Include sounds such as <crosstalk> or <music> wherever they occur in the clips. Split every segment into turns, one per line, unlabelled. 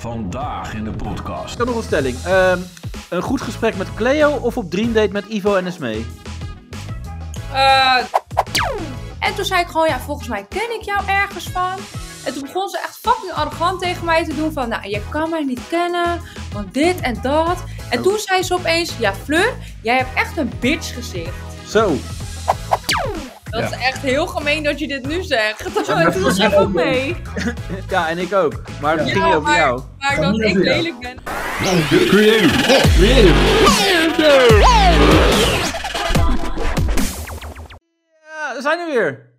Vandaag in de podcast.
Ik heb nog een stelling. Ehm, een goed gesprek met Cleo of op dream date met Ivo en E? Esmee?
Eh, en toen zei ik gewoon, ja, volgens mij ken ik jou ergens van. En toen begon ze echt fucking arrogant tegen mij te doen van, nou, je kan mij niet kennen, want dit en dat. En toen zei ze opeens, ja, Fleur, jij hebt echt een bitch gezicht.
Zo.
Dat
Ja.
is echt heel gemeen dat je dit nu
<laughs>
zegt. En toen was ik ook mee.
Ja, en ik ook. Maar het ging niet
Ja,
over
maar-
jou.
Maar dat ik lelijk ben.
Creative.
Ja, we zijn er weer.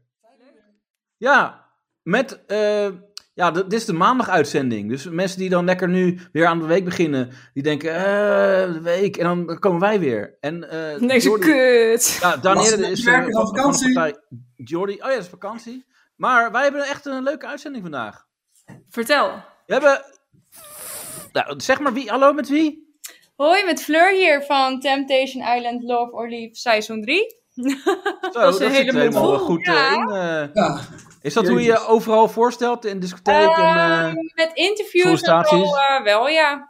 Ja, met... eh, ja, d- dit is de maandaguitzending. Dus mensen die dan lekker nu weer aan de week beginnen, die denken, eh, de week, en dan komen wij weer. En, eh, Jordi-
kut.
Ja, Daan
Lasse,
Heerden is
werken
eh,
dan
van- van de
vakantie?
partij Jordi, oh ja, het is vakantie. Maar wij hebben echt een leuke uitzending vandaag.
Vertel.
We hebben. Nou, zeg maar wie. Hallo met wie?
Hoi, met Fleur hier van Temptation Island Love or Leave seizoen 3.
Zo,
was een
zit
hele mond
helemaal
vol.
goed eh,
Ja.
in. eh.
Ja,
is dat hoe je je
Jezus.
overal voorstelt in discotheek? en, eh,
Ehm, met interviews en zo
sollicitaties?
eh, wel, ja.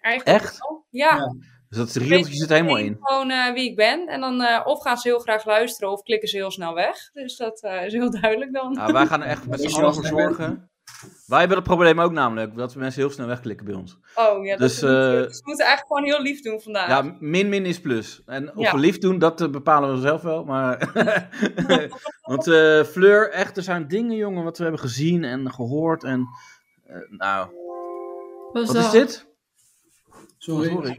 Eigenlijk
echt?
wel. Ja.
Ja.
Dus dat rieltje zit er helemaal
Ik
in.
Gewoon eh, wie ik ben. En dan eh, of gaan ze heel graag luisteren of klikken ze heel snel weg. Dus dat eh, is heel duidelijk dan.
Nou, wij gaan er echt met
Ja,
z'n
dus
allen voor
zoals wij
zorgen. Wij hebben dat probleem ook namelijk, dat mensen heel snel wegklikken bij ons.
oh, ja, dat
dus,
is niet
eh,
goed. Ze moeten eigenlijk gewoon heel lief doen vandaag.
Ja, min min is plus. En of
Ja.
we lief doen, dat eh, bepalen we zelf wel. Maar... <laughs> Want eh, Fleur, echt, er zijn dingen, jongen, wat we hebben gezien en gehoord. En, eh, nou,
Wat
wat is dit? Oh,
sorry.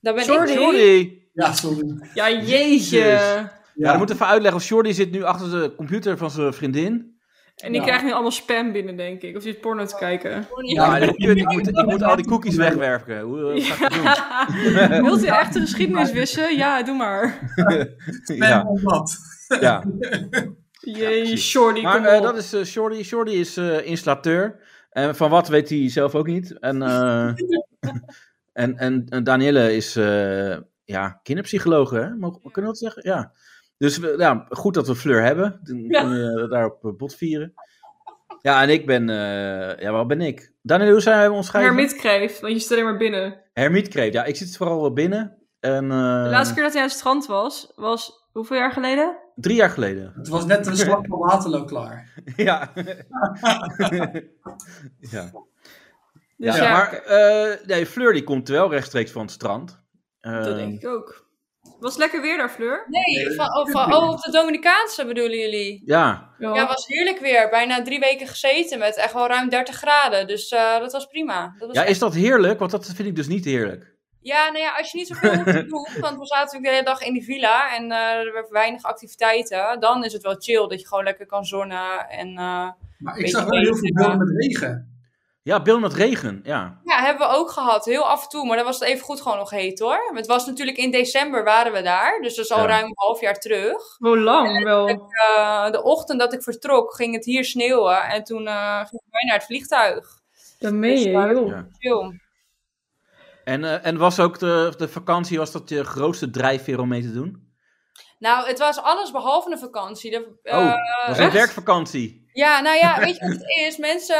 Daar ben
Sorry.
ik.
Jordi!
Ja, sorry.
Ja, jeetje.
Jezus. Ja,
Ja,
dan moet even uitleggen. Want Jordi zit nu achter de computer van zijn vriendin.
En die
Ja.
krijgt nu allemaal spam binnen, denk ik. Of zit porno te kijken.
Ja,
Ja, ik, moet, ik moet- ik moet al die cookies wegwerken. Hoe eh, wat ga ik dat
<laughs> Wilt u echt de geschiedenis wissen? Ja, doe maar.
doen?
ben
<laughs> Ja,
op blad.
ja.
Jee,
precies.
shorty,
Maar
kom
eh,
op.
dat is eh Jordi. Jordi is eh, installateur. En van wat weet hij zelf ook niet. En, eh, <laughs> en, en, en Danielle is eh, ja, kinderpsycholoog, hè? Mogen, Kunnen we dat zeggen? Ja. Dus we- ja, goed dat we Fleur hebben. Dan
Ja.
kunnen we daarop eh, bot vieren. Ja, en ik ben... eh, ja, wat ben ik? Danielle, hoe zijn we ons
Hermit kreeft, want je zit alleen maar binnen.
Hermietkreet. Ja, ik zit vooral wel binnen. En, eh,
De laatste keer dat hij aan het strand was, was hoeveel jaar geleden?
Drie jaar geleden.
<laughs>
Het was net de slag van Waterloo klaar.
ja. ja.
Dus ja,
ja, maar eh, nee, Fleur die komt wel rechtstreeks van het strand. Eh,
dat denk ik ook. Was lekker weer daar, Fleur?
Nee, van, oh, van- oh, op de Dominicaanse bedoelen jullie?
Ja,
Ja, het was heerlijk weer. Bijna drie weken gezeten met echt wel ruim 30 graden. Dus eh, dat was prima. Dat was
ja
echt-
is dat heerlijk? Want dat vind ik dus niet heerlijk.
Ja, nou ja, als je niet zoveel hoeft
<laughs>
te doen, want we zaten natuurlijk de hele dag in die villa en eh, er waren weinig activiteiten, dan is het wel chill dat je gewoon lekker kan zonnen. En eh,
Maar ik
Beetje
zag wel heel veel
beter,
beelden
ja.
met regen.
Ja, Bill met regen, ja.
ja, hebben we ook gehad, heel af en toe, maar dan was het even goed gewoon nog heet hoor. Het was natuurlijk in december waren we daar, dus dat is al
Ja.
ruim een half jaar terug.
Wel lang, wel.
Eh, de ochtend dat ik vertrok ging het hier sneeuwen en toen eh gingen wij naar het vliegtuig.
Dat meen je,
Ja.
joh.
Chill.
En, eh, en was ook de, de vakantie, was dat je grootste drijfveer om mee te doen?
Nou, het was alles behalve een vakantie. De, eh,
oh, was een
echt?
werkvakantie.
Ja, nou ja, weet je wat het is? Mensen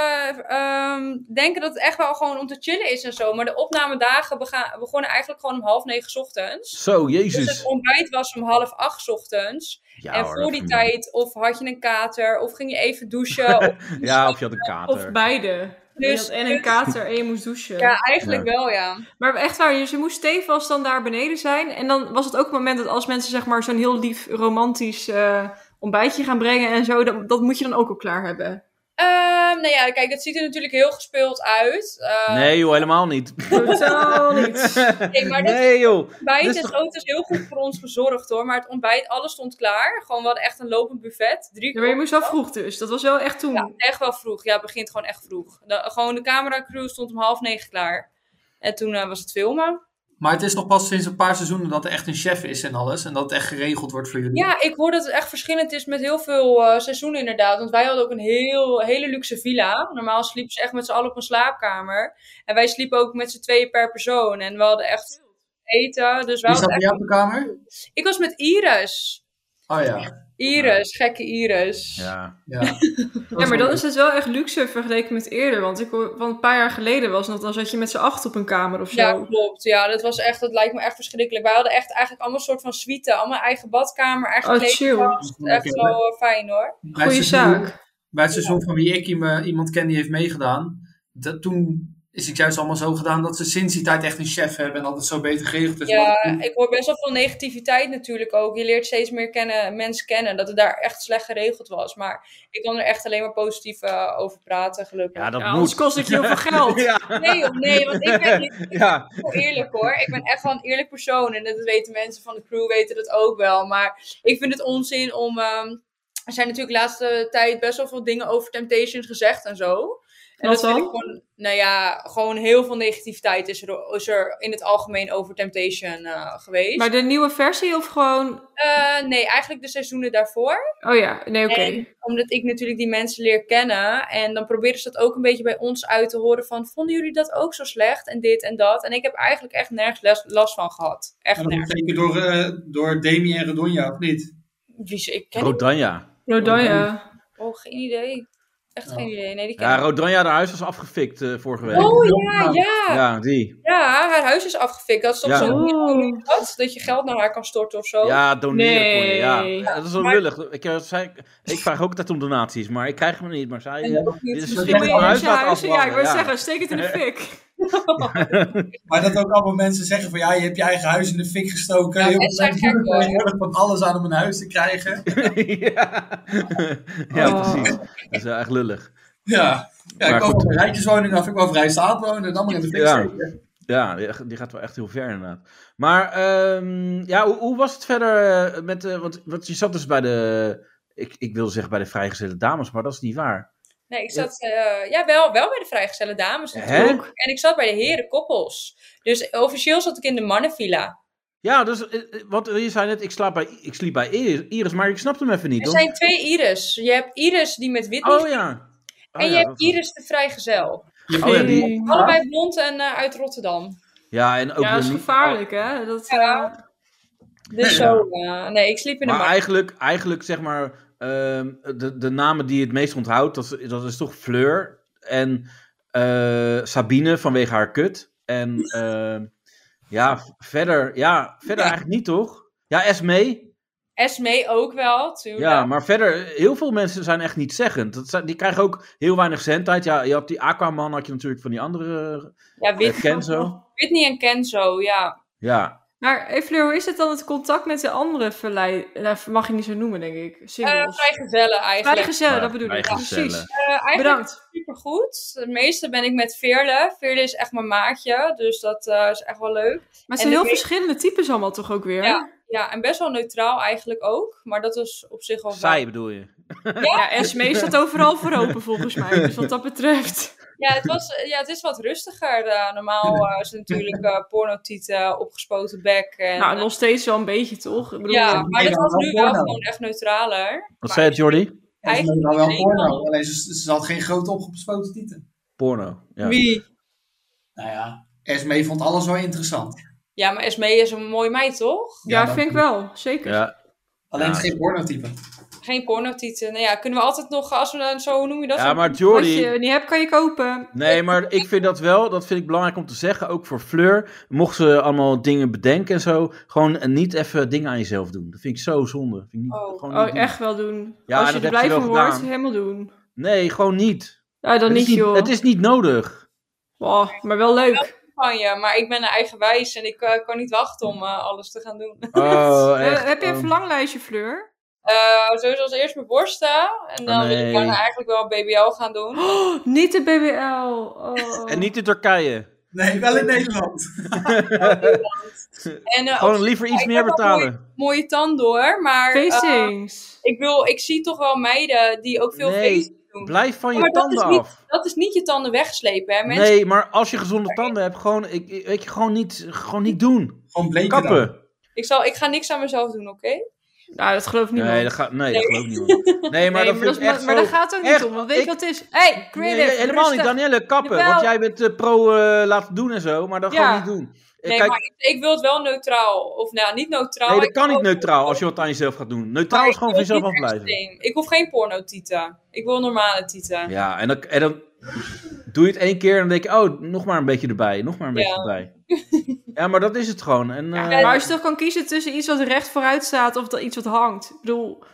ehm, denken dat het echt wel gewoon om te chillen is en zo. Maar de opnamedagen bega- begonnen eigenlijk gewoon om half negen 's ochtends.
Zo,
Dus het
jezus.
ontbijt was om half acht 's ochtends.
Ja,
en
hoor,
voor
dat
die
ging
tijd, of had je een kater, of ging je
<laughs>
even douchen. of-
wel. Ja, of je had een
Of
kater.
beide.
Dus-
Dus, en een kater en je moest douchen.
ja, eigenlijk wel, ja.
Maar echt waar, dus je moest stevast dan daar beneden zijn. En dan was het ook het moment dat als mensen zeg maar zo'n heel lief romantisch eh, ontbijtje gaan brengen en zo, dat, dat moet je dan ook al klaar hebben.
Ehm, nou ja, kijk, het ziet er natuurlijk heel gespeeld uit. Eh,
Nee joh, helemaal niet.
Totaal niet.
nee, maar dit
Nee joh.
ontbijt
Dit
is
is toch-
ook dus heel goed voor ons gezorgd hoor. Maar het ontbijt, alles stond klaar. Gewoon wel echt een lopend buffet. Drie
Ja, maar je moest wel vroeg dus. Dat was wel echt toen.
Ja, echt wel vroeg. Ja, het begint gewoon echt vroeg. De, gewoon de cameracrew stond om half negen klaar. En toen eh, was het filmen.
Maar het is nog pas sinds een paar seizoenen dat er echt een chef is en alles. En dat het echt geregeld wordt voor jullie.
Ja, ik hoor dat het echt verschillend is met heel veel eh, seizoenen inderdaad. Want wij hadden ook een heel, hele luxe villa. Normaal sliepen ze echt met z'n allen op een slaapkamer. En wij sliepen ook met z'n tweeën per persoon. En we hadden echt eten. Dus wij
Wie zat bij
hadden echt...
jou op de kamer?
Ik was met Iris.
Oh ja.
Iris, gekke Iris.
Ja.
<laughs>
Ja.
Ja, maar dan is het wel echt luxe vergeleken met eerder. Want, ik, hoor- want een paar jaar geleden was dat, dan zat je met z'n acht op een kamer of zo. Oh,
Ja, klopt. Ja, dat was echt, dat lijkt me echt verschrikkelijk. Wij hadden echt eigenlijk allemaal soort van suite. Allemaal eigen badkamer, eigen
Oh,
kleedkamer.
chill.
Echt wel eh, fijn hoor.
Bij het
Goeie
seizoen-
zaak.
Bij het seizoen van wie ik iem- iemand ken die heeft meegedaan, dat, toen is het juist allemaal zo gedaan dat ze sinds die tijd echt een chef hebben en dat het zo beter geregeld is.
Ja,
Want-
ik hoor best wel veel negativiteit natuurlijk ook. Je leert steeds meer kennen, mensen kennen. Dat het daar echt slecht geregeld was. Maar ik kan er echt alleen maar positief eh, over praten, gelukkig.
Ja, dat
Ja,
moet.
anders kost ik je heel
<laughs>
veel geld.
Ja,
Nee joh, nee. Want ik ben niet
<laughs> ja.
heel eerlijk hoor. Ik ben echt wel een eerlijk persoon. En dat weten mensen van de crew weten dat ook wel. Maar ik vind het onzin om... ehm, er zijn natuurlijk de laatste tijd best wel veel dingen over Temptations gezegd en zo. En
Wat
dat vind
dan?
ik gewoon, nou ja, gewoon heel veel negativiteit is er, is er in het algemeen over Temptation eh, geweest.
Maar de nieuwe versie of gewoon...
Eh, nee, eigenlijk de seizoenen daarvoor.
Oh ja, nee, oké.
En omdat ik natuurlijk die mensen leer kennen. En dan proberen ze dat ook een beetje bij ons uit te horen van... Vonden jullie dat ook zo slecht? En dit en dat. En ik heb eigenlijk echt nergens les- last van gehad. Echt
En dat is
nergens.
zeker door, eh, door Demi en Redonja, of niet?
Wie ze- Ik ken die-
Rodanja.
Nou, Rodanja.
Oh, geen idee. Echt geen idee. Nee, die ken
Ja,
ik.
Rodanja, haar huis was afgefikt eh, vorige week.
Oh ja, ja, ja.
Ja, die.
haar huis is afgefikt. Dat is toch
Ja.
zo'n
Oh.
Wat? Dat je geld naar haar kan storten of zo?
Ja, doneren
Nee.
kon je. Ja. Ja, dat is wel
Oh, Maar-
lullig. Ik, eh, zei- ik vraag ook altijd om donaties, maar ik krijg hem niet. Maar zij... eh,
ook niet.
dit is
Ja,
ik
maar
moet
in
mijn huis
zijn
laten
huizen, ja, ik
afbranden,
wil
ja.
zeggen, steek het in de fik.
Maar dat ook allemaal mensen zeggen van ja, je hebt je eigen huis in de fik gestoken.
Ja,
Heel
mensen
veel
zijn gek, hoor.
doen tegenwoordig van alles aan om een huis te krijgen.
<laughs> ja, ja
Oh.
precies. Dat is wel echt lullig.
Ja, ja
Maar
ik wou
goed.
van een rijtjeswoning af, ik wou vrij staat wonen en allemaal in de fik
Ja.
steken.
Ja, die, die gaat wel echt heel ver inderdaad. Maar ehm, ja, hoe, hoe was het verder eh, met... eh, want, want je zat dus bij de... Ik, ik wil zeggen bij de vrijgezelle dames, maar dat is niet waar.
Nee, ik zat eh, ja, wel, wel bij de vrijgezelle dames
Hè?
natuurlijk. En ik zat bij de heren koppels. Dus officieel zat ik in de mannenvilla.
Ja, dus eh, eh, wat je zei net, ik, slaap bij, ik sliep bij Iris, Iris, maar ik snapte hem even niet.
Er
hoor.
zijn twee Iris. Je hebt Iris die met wit
Oh ja. Oh,
en je
ja,
hebt
dat-
Iris de vrijgezel.
Oh, ja, die-
Nee.
Allebei blond en eh, uit Rotterdam.
Ja, en ook
Ja, dat is
weer niet-
gevaarlijk, hè? Dat,
Ja.
eh,
Ja.
Dus zo, eh, nee, ik sliep in de
Maar
man.
eigenlijk, eigenlijk zeg maar, ehm, de, de namen die je het meest onthoudt, dat, is- dat is toch Fleur en eh, Sabine vanwege haar kut. En ehm, ja, verder, ja, verder
Ja.
eigenlijk niet toch? Ja, Esmee.
Esme E ook wel, tuurlijk.
Ja, maar verder, heel veel mensen zijn echt niet zeggend. Dat zijn, die krijgen ook heel weinig zendtijd. Ja, je had die Aquaman, had je natuurlijk van die andere
Ja,
eh,
Whit-
Kenzo.
Whitney en Kenzo, ja.
Ja,
Maar hey Fleur, hoe is het dan het contact met de andere verlei... Nou, mag je niet zo noemen, denk ik.
Eh
Singles.
vrijgezellen eigenlijk.
Vrijgezellen,
Ja,
dat bedoel ik. Ja,
vrijgezellen.
precies.
Eh, eigenlijk
Bedankt.
supergoed. Het meeste ben ik met Veerle. Veerle is echt mijn maatje, dus dat eh, is echt wel leuk.
Maar het
En
zijn heel
de-
verschillende types allemaal toch ook weer?
Ja. Ja, en best wel neutraal eigenlijk ook. Maar dat is op zich wel...
zij bedoel je.
Ja, Esme staat overal voor open volgens mij. Dus wat dat betreft.
Ja, het, was, eh, ja, het is wat rustiger. eh, normaal eh, is het natuurlijk eh pornotieten, opgespoten bek. En, eh,
Nou, nog steeds wel een beetje toch? Ik bedoel, eh,
ja, maar
Nee,
dat
dan
was
wel
nu wel
porno.
gewoon echt neutraler.
Wat
Maar-
zei het, Jordi?
Dat is
Eigenlijk
nou wel
niet,
porno, alleen ze, ze had geen grote opgespoten tieten.
Porno. Ja.
Wie?
Nou ja, Esmee vond alles wel interessant.
Ja, maar Esme is een mooie meid, toch?
ja,
dat-
vind ik wel. Zeker.
Ja,
Alleen
Ja.
geen porno-type.
Geen pornotieten. Nou ja, kunnen we altijd nog, als we dan zo, hoe noem je dat?
ja maar
Wat
Jordi...
je niet hebt, kan je kopen.
Nee, maar ik vind dat wel, dat vind ik belangrijk om te zeggen, ook voor Fleur. Mocht ze allemaal dingen bedenken en zo, gewoon niet even dingen aan jezelf doen. Dat vind ik zo zonde. Vind ik niet,
Oh,
gewoon niet
Oh,
doen.
echt wel doen.
Ja,
Als je
dat
er
heb
blij
je wel
van wordt,
gedaan.
helemaal doen.
Nee, gewoon niet.
Ja, dan
het,
niet,
is niet
joh.
het is niet
<laughs>
nodig.
Oh, maar wel leuk.
van je, maar ik ben eigenwijs en ik eh, kan niet wachten om eh, alles te gaan doen.
Oh,
Eh,
echt.
heb je een
oh.
verlanglijstje, Fleur?
Eh, sowieso als eerst mijn borsten en dan wil
nee.
ik daarna eigenlijk wel BBL gaan doen.
Oh, niet de BBL. Oh.
<laughs> En niet in Turkije.
Nee, wel in Nederland.
En <laughs> eh,
Gewoon
ook
liever iets
ik
meer
heb wel
betalen.
mooie tanden hoor, maar eh,
Facings.
ik, wil, ik zie toch wel meiden die ook veel
Nee,
feest doen.
Blijf van je
Maar dat is
tanden
niet-
af.
Dat is niet je tanden wegslepen, hè mensen.
Nee, maar als je gezonde tanden hebt, gewoon, ik, ik- weet je, gewoon, niet, gewoon niet doen.
Gewoon bleek
Kappen.
Ik, zal, ik ga niks aan mezelf doen, oké?
Nou, dat geloof ik niet.
Ah. Nee, dat gaat, nee, dat geloof ik niet.
<laughs>
hoor. Nee, maar
Nee,
dat
dat
vind
is
ik
maar-
echt
maar
zo...
daar gaat het ook niet
echt,
om. Want
want
weet je
ik-
wat het is?
Hey, creative.
Nee, helemaal niet,
rustig.
Danielle, kappen.
Jawel.
Want jij bent eh, pro eh, laten doen en zo, maar dat
Ja.
gewoon niet doen. Eh,
Nee,
Kijk,
maar ik, ik wil het wel neutraal. Of nou, niet neutraal.
nee,
Ik
dat kan niet
wil-
neutraal als je wat aan jezelf gaat doen. Neutraal
Maar
is
ik
gewoon van
wil
jezelf
niet
afblijven.
extreem. Ik hoef geen porno-tieten. Ik wil normale tieten.
Ja, en dan, en dan doe je het één keer en dan denk je, oh, nog maar een beetje erbij, nog maar een beetje
Ja.
erbij. Ja, maar dat is het gewoon. En, eh,
Maar als je toch kan kiezen tussen iets wat recht vooruit staat of dat iets wat hangt. Ik bedoel,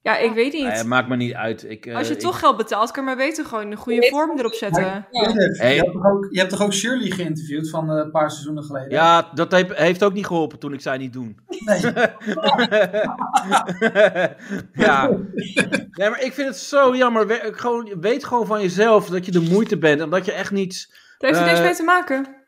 ja, ik weet
nou ja,
niet.
maakt me niet uit. Ik, eh,
Als je
ik-
toch geld betaalt, kan je maar beter gewoon een goede vorm erop zetten.
Hey.
Je, hebt toch ook, je hebt toch ook Shirley geïnterviewd van eh, een paar seizoenen geleden?
Ja, dat heeft, heeft ook niet geholpen toen ik zei niet doen.
Nee.
<laughs> ja. Nee, maar ik vind het zo jammer. We- gewoon, weet gewoon van jezelf dat je de moeite bent. En dat je echt niet...
Daar heeft er
Eh,
niks mee te maken.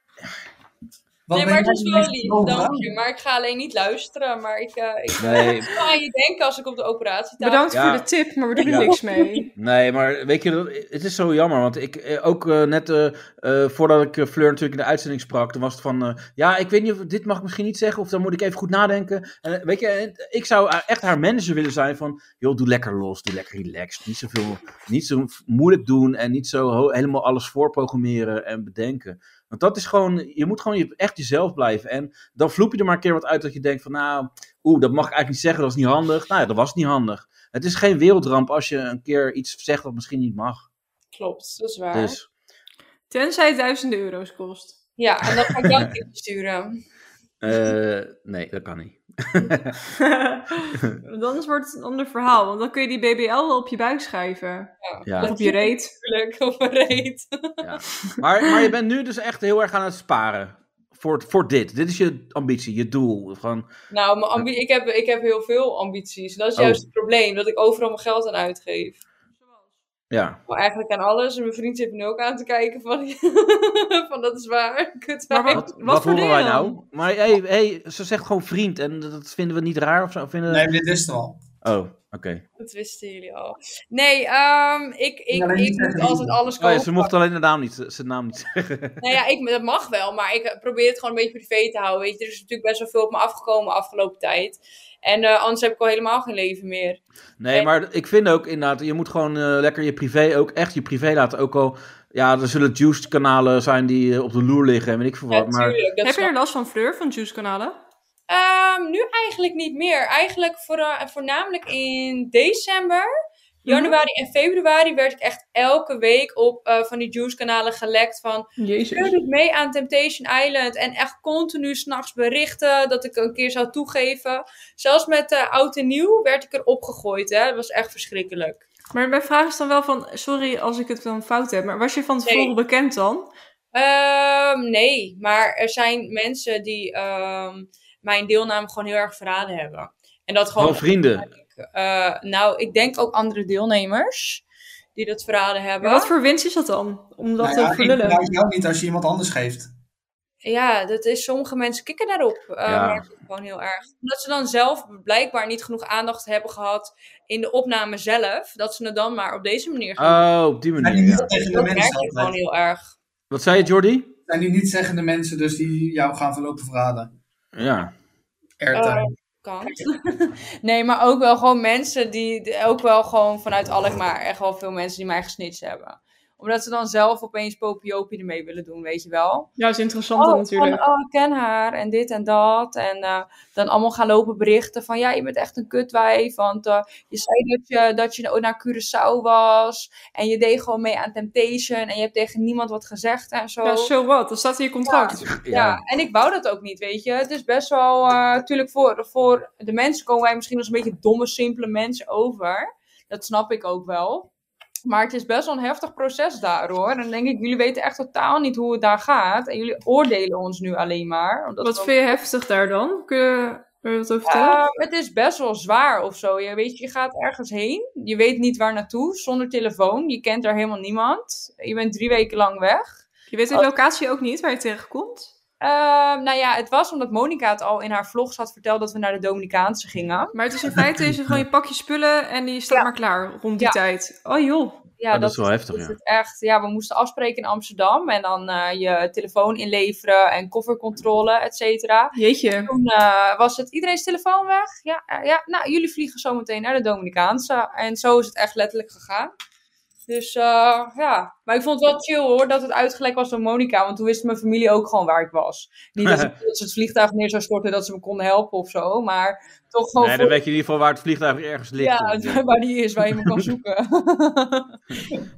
Wat
nee,
ben
maar het
jij
is
de
wel
meest
lief,
overtuigd?
dank je. Maar ik ga alleen niet luisteren. Maar ik, eh ik eh,
Nee,
ik ga aan je denken als ik op de operatietafel...
Bedankt
Ja.
voor de tip, maar we doen er
Ja.
niks mee.
nee maar weet je, dat- het is zo jammer. Want ik eh, ook eh, net eh, eh, voordat ik eh, Fleur natuurlijk in de uitzending sprak. Toen was het van, eh, ja, ik weet niet of dit mag ik misschien niet zeggen. Of dan moet ik even goed nadenken. En, eh, weet je, en ik zou eh, echt haar manager willen zijn van... joh, doe lekker los, doe lekker relaxed. Niet, zoveel, niet zo moeilijk doen en niet zo ho- helemaal alles voorprogrammeren en bedenken. Want dat is gewoon, je moet gewoon je- echt jezelf blijven. En dan vloep je er maar een keer wat uit dat je denkt van, nou, oeh, dat mag ik eigenlijk niet zeggen, dat is niet handig. Nou ja, dat was niet handig. Het is geen wereldramp als je een keer iets zegt wat misschien niet mag.
Klopt, dat is waar.
Dus,
Tenzij het duizenden euro's
<laughs>
kost.
Ja, en dan ga ik jou een tipje sturen.
eh, nee, dat kan niet.
Want Anders wordt het een ander verhaal, want dan kun je die BBL wel op je buik schrijven. Of
Ja.
op je reet.
Natuurlijk, op een reet.
Maar, maar je bent nu dus echt heel erg aan het sparen. Voor, voor dit. Dit is je ambitie, je doel. Gewoon,
Nou, mijn ambi- ik, heb, ik heb heel veel ambities. Dat is
Oh.
juist het probleem, dat ik overal mijn geld aan uitgeef.
ja.
Maar eigenlijk aan alles. En mijn vriend zit me nu ook aan te kijken van, <laughs> van dat is waar. <laughs> Kut,
Maar
waar.
wat,
Wat,
voor
horen
dingen
wij
dan?
nou? Maar hey, hey, ze zegt gewoon vriend en dat vinden we niet raar of zo? Vinden we-
Nee, dit is het al.
Oh, oké.
Dat wisten jullie al. Nee, ehm, ik, ik,
alleen
ik
niet
moet
zeggen.
altijd alles
Oh
kopen.
ja, ze mocht alleen de naam niet, ze- zijn naam niet zeggen.
Nou ja, ik, dat mag wel, maar ik eh, probeer het gewoon een beetje privé te houden. Weet je, er is natuurlijk best wel veel op me afgekomen afgelopen tijd. En eh, anders heb ik al helemaal geen leven meer.
Nee, maar ik vind ook inderdaad, je moet gewoon eh, lekker je privé ook echt je privé laten. Ook al, ja, er zullen juiced kanalen zijn die eh, op de loer liggen en weet ik veel wat. maar
Natuurlijk.
Heb je er last van Fleur, van Juice Kanalen?
Ehm, nu eigenlijk niet meer. Eigenlijk voora- voornamelijk in december,
Mhm.
januari en februari werd ik echt elke week op eh, van die Juice-kanalen gelekt van... Ik
Jezus.
doet mee aan Temptation Island en echt continu s'nachts berichten dat ik een keer zou toegeven. Zelfs met eh, oud en nieuw werd ik erop gegooid. Hè? Dat was echt verschrikkelijk.
Maar mijn vraag is dan wel van, sorry als ik het dan fout heb, maar was je van tevoren
Nee.
bekend dan?
Ehm, nee, maar er zijn mensen die ehm, mijn deelname gewoon heel erg verraden hebben. En dat gewoon
gewoon vrienden.
Eh, nou, ik denk ook andere deelnemers die dat verraden hebben.
Maar wat voor winst is dat dan? Om dat
Nou ja,
te
ik
verlullen?
verwijt jou niet als je iemand anders geeft.
Ja, dat is, sommige mensen kikken daarop. eh
Ja.
merk ik gewoon heel erg. Omdat ze dan zelf blijkbaar niet genoeg aandacht hebben gehad in de opname zelf. Dat ze het dan maar op deze manier gaan.
Oh, op die
Zijn
manier.
die niet
ja.
tegen Eh, de
dat merk
mensen
je gewoon
altijd?
heel erg.
Wat zei je, Jordi?
Zijn die niet zeggende mensen dus die jou gaan verlopen verraden?
Ja.
Airtime.
Oh, Kant. nee, maar ook wel gewoon mensen die, die ook wel gewoon vanuit Alkmaar echt wel veel mensen die mij gesnitst hebben. Omdat ze dan zelf opeens popiopie ermee willen doen, weet je wel.
Ja, is interessant dan natuurlijk.
Van, oh, ik ken haar en dit en dat. En eh, dan allemaal gaan lopen berichten van, ja, je bent echt een kutwijf. Want eh, je zei dat je, dat je naar Curaçao was. En je deed gewoon mee aan Temptation. En je hebt tegen niemand wat gezegd en zo.
Ja, so what? Dan staat in je contract.
Ja,
ja.
en ik wou dat ook niet, weet je. Het is best wel, eh, natuurlijk voor, voor de mensen komen wij misschien als een beetje domme, simpele mensen over. Dat snap ik ook wel. Maar het is best wel een heftig proces daar hoor. En dan denk ik, jullie weten echt totaal niet hoe het daar gaat. En jullie oordelen ons nu alleen maar. Omdat
Wat
we-
vind je heftig daar dan? Kun je er wat over vertellen?
Ehm, het is best wel zwaar of zo. Je, weet, je gaat ergens heen. Je weet niet waar naartoe. Zonder telefoon. Je kent daar helemaal niemand. Je bent drie weken lang weg.
je weet de locatie ook niet waar je tegenkomt?
Ehm, nou ja, het was omdat Monica het al in haar vlogs had verteld dat we naar de Dominicaanse gingen.
Maar het <laughs> is in feite is het gewoon je pak je spullen en die staat
Ja.
maar klaar rond die
Ja.
tijd. Oh joh.
Ja,
Ah, dat is wel heftig, ja.
het echt. Ja, we moesten afspreken in Amsterdam en dan eh, je telefoon inleveren en koffercontrole, et cetera.
Jeetje.
Toen eh, was het iedereen's telefoon weg. Ja, eh, ja, nou, jullie vliegen zometeen naar de Dominicaanse. En zo is het echt letterlijk gegaan. Dus eh, ja, maar ik vond het wel chill hoor dat het uitgelekt was door Monica. Want toen wist mijn familie ook gewoon waar ik was. Niet
<laughs>
dat, ik- dat ze het vliegtuig neer zou storten dat ze me konden helpen of zo. Maar toch
Oh,
gewoon.
Nee, dan weet je in ieder geval waar het vliegtuig ergens ligt.
ja, waar die is, waar je me
<laughs>
kan zoeken.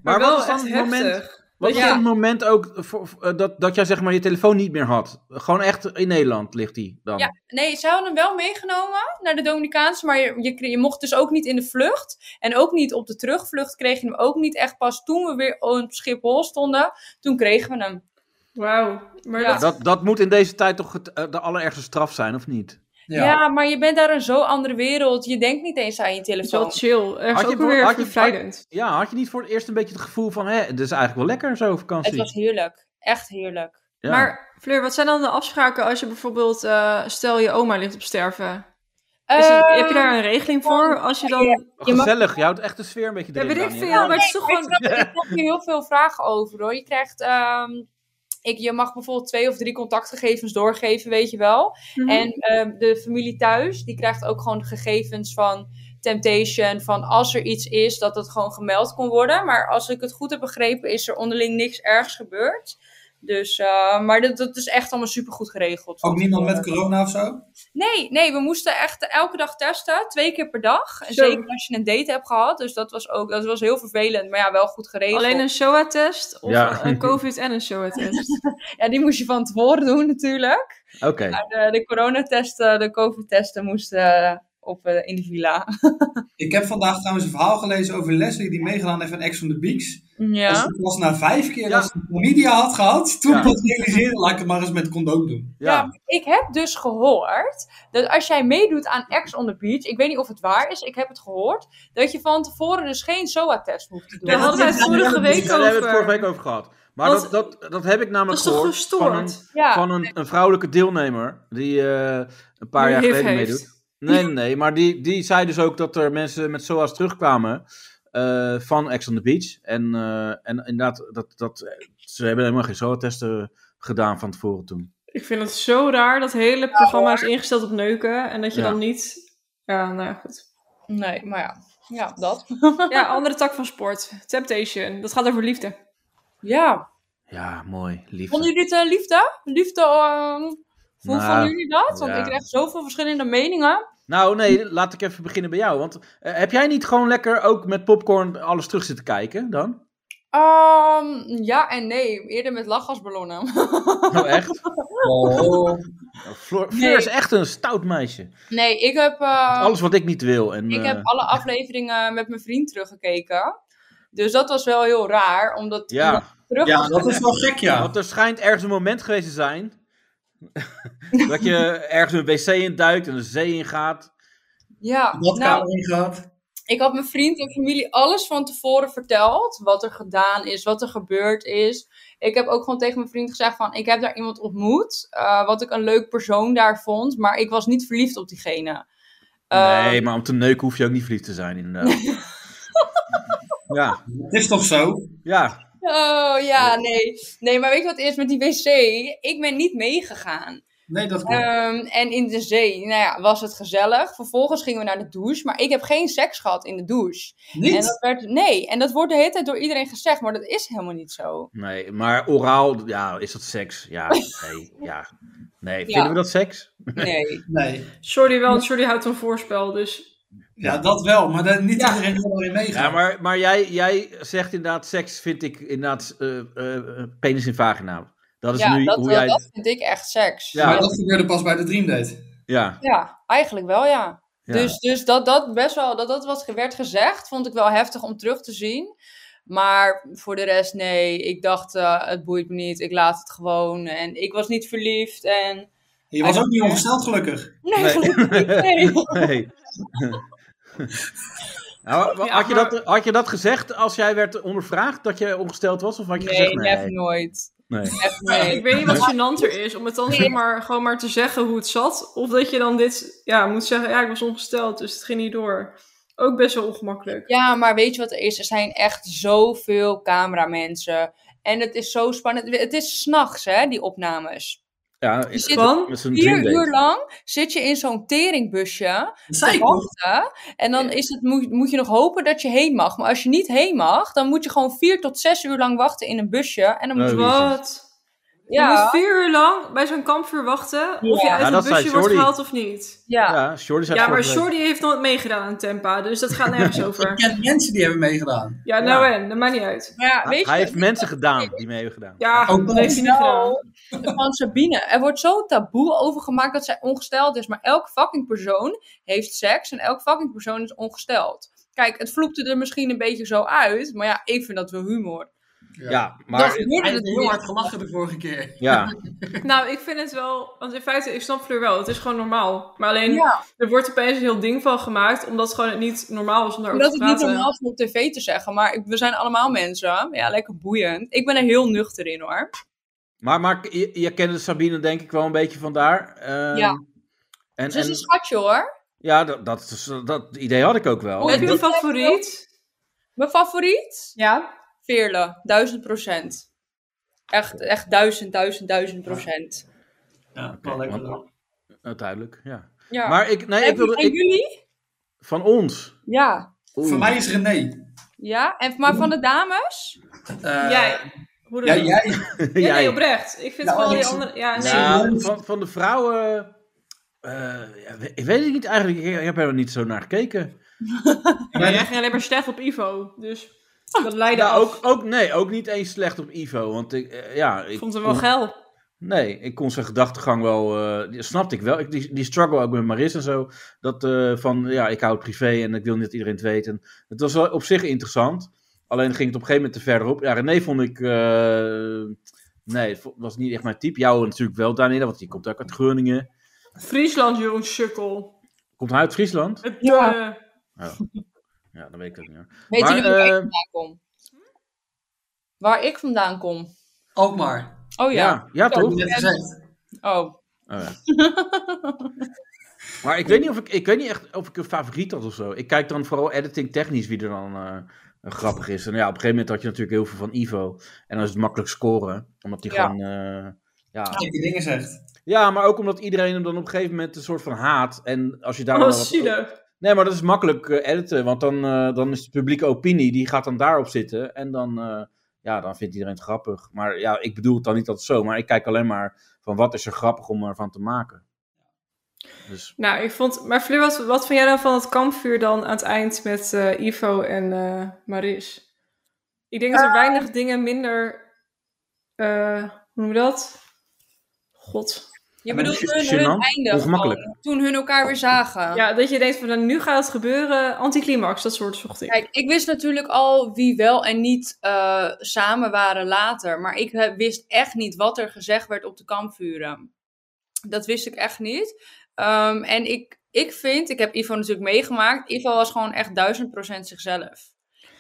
maar
wel
wat is dan het
echt
moment,
heftig.
wat is
Ja.
dan het moment ook voor- voor, eh, dat, dat jij zeg maar je telefoon niet meer had? Gewoon echt in Nederland ligt die dan?
Ja, Nee, ze hadden hem wel meegenomen naar de Dominicaanse, maar je, je, kreeg- je mocht dus ook niet in de vlucht. En ook niet op de terugvlucht kregen we hem ook niet echt pas toen we weer op Schiphol stonden. Toen kregen we hem.
Wauw. Maar
Ja.
dat...
Dat, dat moet in deze tijd toch het, eh, de allerergste straf zijn, of niet?
Ja. maar je bent daar een zo andere wereld. Je denkt niet eens aan je
is
telefoon.
wel chill. Ergens
Had je
ook
voor-
weer
had je-
bevrijdend.
Ja, had je niet voor het eerst een beetje het gevoel van, hè, dit is eigenlijk wel lekker zo vakantie?
Het was heerlijk. Echt heerlijk.
Ja.
Maar Fleur, wat zijn dan de afspraken als je bijvoorbeeld, eh, stel je oma ligt op sterven? Is het-
Ehm,
heb je daar een regeling voor? Als je dan...
ja.
Oh,
je mag-
gezellig, je houdt echt de sfeer een beetje
Ja,
erin.
weet ik
Daniel.
veel, maar het is toch
Ik
gewoon...
snap- Ik heb hier heel veel vragen over hoor. Je krijgt. ehm, ik, je mag bijvoorbeeld twee of drie contactgegevens doorgeven, weet je wel.
Mhm.
En ehm, de familie thuis, die krijgt ook gewoon gegevens van Temptation. Van als er iets is, dat het gewoon gemeld kon worden. Maar als ik het goed heb begrepen, is er onderling niks ergs gebeurd. Dus, eh, maar dat, dat is echt allemaal supergoed geregeld.
Ook niemand met corona of zo?
Nee, nee, we moesten echt elke dag testen. Twee keer per dag. En
Zo.
zeker als je een date hebt gehad. Dus dat was ook, dat was heel vervelend. Maar ja, wel goed geregeld.
Alleen een SOA-test of eh,
Ja.
een COVID en een SOA-test?
Ja, die moest je van tevoren doen natuurlijk. Eh,
Oké,
De, de coronatesten, de covid-testen moesten op, eh, in de villa.
Ik heb vandaag trouwens een verhaal gelezen over Leslie die meegedaan heeft aan Ex on the Beach. Als
Ja.
ze pas na vijf
Ja.
keer dat ze chlamydia had gehad, toen
Ja.
pas realiseerde, laat ik het maar eens met condoom doen.
Ja.
ja.
maar ik heb dus gehoord dat als jij meedoet aan Ex on the Beach, ik weet niet of het waar is, ik heb het gehoord, dat je van tevoren dus geen SOA-test hoeft te doen.
Daar hadden wij het vorige week
Daar hebben we het vorige
over.
week over gehad. Maar
Want-
dat, dat, dat heb ik
Dat
namelijk
is toch
gehoord van een,
gestoord?
ja.
van een, een vrouwelijke deelnemer die eh, een paar
Die
jaar
HIV
geleden
heeft.
meedoet. Nee, nee, nee, maar die, die zei dus ook dat er mensen met SOA's terugkwamen eh, van Ex on the Beach. En, eh, en inderdaad, dat, dat, ze hebben helemaal geen SOA-testen gedaan van tevoren toen.
Ik vind het zo raar. Dat hele programma is ingesteld op neuken. En dat je
Ja.
dan niet... Ja, nou ja, goed.
Nee, maar ja. Ja, dat.
<laughs> Ja, andere tak van sport. Temptation. Dat gaat over liefde.
Ja.
Ja, mooi, lief.
Vonden jullie het eh, liefde? Liefde, ehm, hoe
Nou,
vonden jullie dat? Want
ja.
ik krijg zoveel verschillende meningen.
Nou nee, laat ik even beginnen bij jou. Want eh, heb jij niet gewoon lekker ook met popcorn alles terug zitten kijken dan?
Ehm, ja en nee. Eerder met lachgasballonnen.
Nou echt?
<laughs>
Oh.
Nou, Fleur,
Nee.
Fleur is echt een stout meisje.
Nee, ik heb... eh,
Alles wat ik niet wil. En,
Ik
eh,
heb alle afleveringen met mijn vriend teruggekeken. Dus dat was wel heel raar, omdat
ja,
terug
Ja, dat is wel gek, ja.
want er schijnt ergens een moment geweest te
<laughs>
zijn... dat je ergens een wc in duikt en een zee in gaat.
Ja,
Wat
nou,
kamer ingehaald.
ik had mijn vriend en familie alles van tevoren verteld. Wat er gedaan is, wat er gebeurd is. Ik heb ook gewoon tegen mijn vriend gezegd van, ik heb daar iemand ontmoet. eh, wat ik een leuk persoon daar vond, maar ik was niet verliefd op diegene. Eh,
nee, maar om te neuken hoef je ook niet verliefd te zijn
<laughs>
inderdaad. ja,
Het is toch zo?
ja.
Oh ja, nee. Nee, maar weet je wat het is met die wc? Ik ben niet meegegaan.
Nee, dat klopt.
Ehm, en in de zee, nou ja, was het gezellig. Vervolgens gingen we naar de douche, maar ik heb geen seks gehad in de douche. Eh, En
Niet?
dat werd, nee, en dat wordt de hele tijd door iedereen gezegd, maar dat is helemaal niet zo.
Nee, maar oraal, ja, is dat seks? Ja, nee, ja. Nee,
Ja.
vinden we dat seks?
Nee.
Nee.
Sorry wel, want Jordi houdt een voorspel. Dus
Ja, dat wel, maar dat, niet
Ja.
iedereen wil erin meegaan.
Ja, maar, maar jij, jij zegt inderdaad, seks vind ik inderdaad eh, eh, eh, penis in vagina. Dat is
ja,
nu
dat,
hoe
eh,
jij...
dat vind ik echt seks.
Ja.
Maar dat gebeurde pas bij de Dreamdate.
Ja,
Ja, eigenlijk wel, ja.
ja.
Dus, dus dat dat best wel, dat dat wat werd gezegd, vond ik wel heftig om terug te zien. Maar voor de rest, nee, ik dacht, eh, het boeit me niet, ik laat het gewoon. En ik was niet verliefd en...
Je was ook niet ongesteld gelukkig.
Nee,
Nee.
gelukkig niet, nee.
Nee. Nou, wa-
Ja,
had, je
maar-
dat, had je dat gezegd als jij werd ondervraagd dat je ongesteld was? Of had je
Nee,
gezegd
nee,
nee?
nooit.
Nee.
Echt, nee.
Ik weet niet wat gênanter is, om het dan zeg maar, gewoon maar te zeggen hoe het zat. Of dat je dan dit ja, moet zeggen, ja, ik was ongesteld, dus het ging niet door. Ook best wel ongemakkelijk.
Ja, maar weet je wat er is? Er zijn echt zoveel cameramensen. En het is zo spannend. Het is s'nachts, hè, die opnames.
Ja,
Je
is
zit
Gewoon?
met zo'n
Vier
dreamdate.
uur lang zit je in zo'n teringbusje
Zei
te
ik nog.
wachten. En dan is het, moet, moet je nog hopen dat je heen mag. Maar als je niet heen mag, dan moet je gewoon vier tot zes uur lang wachten in een busje. En dan moet
Nee.
je...
Wat? Je
Ja,
moet vier uur lang bij zo'n kampvuur wachten of je
Ja.
uit
Ja,
een
dat zei
busje wordt
Jordi.
gehaald of niet.
ja.
Ja, Jordi zei
Ja,
het
maar
vorige week.
Jordi heeft nooit meegedaan aan Tempa, dus dat gaat
<laughs>
nergens
Ik
over.
ken mensen die hebben meegedaan.
Ja, nou
Ja.
en, dat maakt niet uit.
Maar ja, weet je,
Hij heeft mensen gedaan die mee hebben gedaan.
Ja,
Ook
dat heeft hij niet gedaan.
Nou, van Sabine. Er wordt zo taboe over gemaakt dat zij ongesteld is. Maar elk fucking persoon heeft seks en elk fucking persoon is ongesteld. Kijk, het vloekte er misschien een beetje zo uit, maar ja, ik vind dat wel humor.
Ja,
Dan
maar...
gebeurde
Hij
het
heeft
niet.
heel hard gelachen de vorige keer.
Ja,
Nou, ik vind het wel, want in feite, ik snap Fleur wel, het is gewoon normaal. Maar alleen,
Ja,
er wordt opeens een heel ding van gemaakt, omdat gewoon het niet normaal was om daarover
omdat
te
het niet
praten.
normaal is om op tv te zeggen, maar ik- we zijn allemaal mensen. Ja, lekker boeiend. Ik ben er heel nuchter in hoor.
maar, maar je, je kende Sabine denk ik wel een beetje vandaar. Ehm,
Ja.
En,
Ze Dus is een
en,
schatje hoor.
ja, dat, dat, is- dus- dat idee had ik ook wel.
Hoe heb je
dat-
een favoriet?
Mijn favoriet?
Ja.
Veerle, duizend procent. Echt, echt duizend, duizend, duizend procent.
Ja, wel lekker.
want- Uiteindelijk, ja.
Ja.
Maar ik, nee, ik wilde,
en
ik,
jullie?
van ons.
Ja.
Oeh. <laughs>
Voor mij is René.
Ja, en, maar van de dames?
Eh,
Jij. Hoe dan
Ja,
ook.
jij.
Nee,
Jij.
nee, oprecht. Ik vind
Ja,
wel die
ik-
andere... Ja, nee.
Nou, van, van de vrouwen. eh, ja, we- ik weet het niet eigenlijk. Ik, ik heb er niet zo naar gekeken.
Maar jij ging alleen maar slecht op Ivo, dus dat leidde
Ja,
af.
Nou, ook, ook, nee, ook niet eens slecht op Ivo. Want ik, eh, ja, ik
Ik vond hem wel
kon-
geil.
Nee, ik kon zijn gedachtegang wel. eh, die snapte ik wel. Ik, die, die struggle ook met Maris en zo. Dat eh, van ja, ik hou het privé en ik wil niet dat iedereen het weet. En het was wel op zich interessant. Alleen ging het op een gegeven moment te verder op. Ja, René vond ik. eh, nee, het vo- was niet echt mijn type. Jou natuurlijk wel, Daniela, want die komt ook uit Groningen.
Friesland, Jeroen Sukkel.
Komt hij uit Friesland?
Het
Ja.
eh,
Ja, dat weet ik ook niet. hoor.
Weet
Maar,
jullie waar ik
eh,
vandaan kom? Waar ik vandaan kom?
Ook maar.
Oh ja.
Ja, ja toch?
Heb je net gezegd.
Oh.
Oh,
<laughs>
ja. maar ik weet niet of ik, ik weet niet echt of ik een favoriet had of zo. Ik kijk dan vooral editing technisch wie er dan eh, eh, grappig is. En ja, op een gegeven moment had je natuurlijk heel veel van Ivo. En dan is het makkelijk scoren, omdat die
Ja.
gewoon. eh, ja.
Die dingen zegt.
ja, maar ook omdat iedereen hem dan op een gegeven moment een soort van haat. En als je daar.
oh,
dan
wat
wat-
zielig.
Nee, maar dat is makkelijk eh, editen, want dan, eh, dan is de publieke opinie, die gaat dan daarop zitten. En dan, eh, ja, dan vindt iedereen het grappig. Maar ja, ik bedoel het dan niet altijd zo, maar ik kijk alleen maar van wat is er grappig om ervan te maken. Dus,
Nou, ik vond... Maar Fleur, wat, wat vind jij dan van het kampvuur dan aan het eind met eh, Ivo en eh, Maris? Ik denk dat er weinig dingen minder... eh, hoe noem je dat? God.
Je
maar
bedoelt
dat
hun,
is
hun
gênant,
einde
ongemakkelijk.
gewoon, toen hun elkaar weer zagen.
Ja, dat je denkt van nou, nu gaat het gebeuren. Anticlimax, dat soort zocht ik.
Kijk, ik wist natuurlijk al wie wel en niet eh, samen waren later. Maar ik eh, wist echt niet wat er gezegd werd op de kampvuren. Dat wist ik echt niet. Ehm, en ik, ik vind, ik heb Ivo natuurlijk meegemaakt. Ivo was gewoon echt duizend procent zichzelf.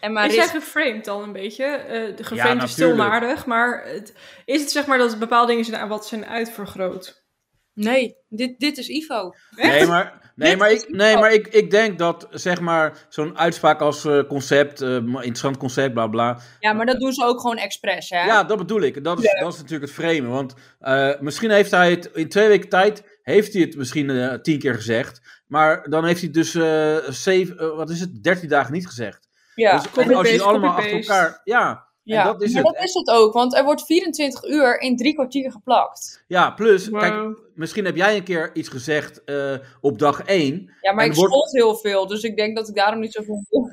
En
Maar is
Maris
jij geframed dan een beetje? Eh, de
Ja,
geframed is stil
natuurlijk.
maar aardig, maar het- is het zeg maar dat bepaalde dingen zijn, wat zijn uitvergroot?
Nee, dit, dit is Ivo.
nee, maar, nee,
Dit
maar,
is
ik, nee, maar ik, ik denk dat, zeg maar, zo'n uitspraak als eh, concept, eh, interessant concept, bla bla,
Ja, maar dat doen ze ook gewoon expres, hè?
Ja, dat bedoel ik. Dat is, dat is natuurlijk het vreemde. Want eh, misschien heeft hij het in twee weken tijd. Heeft hij het misschien eh, tien keer gezegd. Maar dan heeft hij het dus eh, zeven, eh, wat is het, dertien dagen niet gezegd.
ja.
Dus, en als je het
Copy-paste,
allemaal achter
copy-paste.
elkaar. Ja,
ja.
dat is
maar
het.
dat is het ook, want er wordt 24 uur in drie kwartier geplakt.
ja, plus,
Wow.
kijk, misschien heb jij een keer iets gezegd eh, op dag één.
Ja, maar
En
ik
wordt-
schold heel veel, dus ik denk dat ik daarom niet zoveel doe.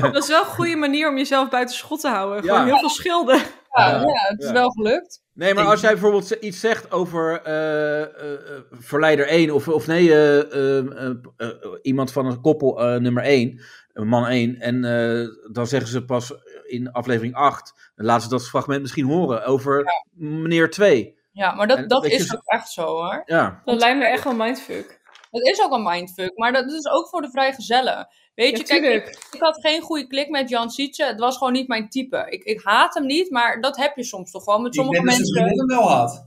Dat is wel een goede manier om jezelf buiten schot te houden.
Ja.
Gewoon heel veel schilden.
Ja,
Ja.
<laughs> ja, het is
Ja.
wel gelukt.
Nee, maar als jij bijvoorbeeld z- iets zegt over eh, eh, eh, verleider 1, of, of nee, eh, eh, eh, eh, iemand van een koppel eh, nummer 1, man 1, en eh, dan zeggen ze pas in aflevering 8, dan laten ze dat fragment misschien horen over meneer 2.
Ja, maar dat,
En
dat
dat je
is
zo-
ook echt zo, hoor.
Ja,
Dat lijkt me echt wel mindfuck.
Dat is ook een mindfuck, maar dat is ook voor de vrijgezellen. Weet je,
Ja,
kijk,
tuurlijk. Oh,
ik, ik had geen goede klik met Jan Sietse. Het was gewoon niet mijn type. Ik, ik haat hem niet, maar dat heb je soms toch gewoon met sommige
Ik ben
<laughs>
dus
mensen.
een wel had.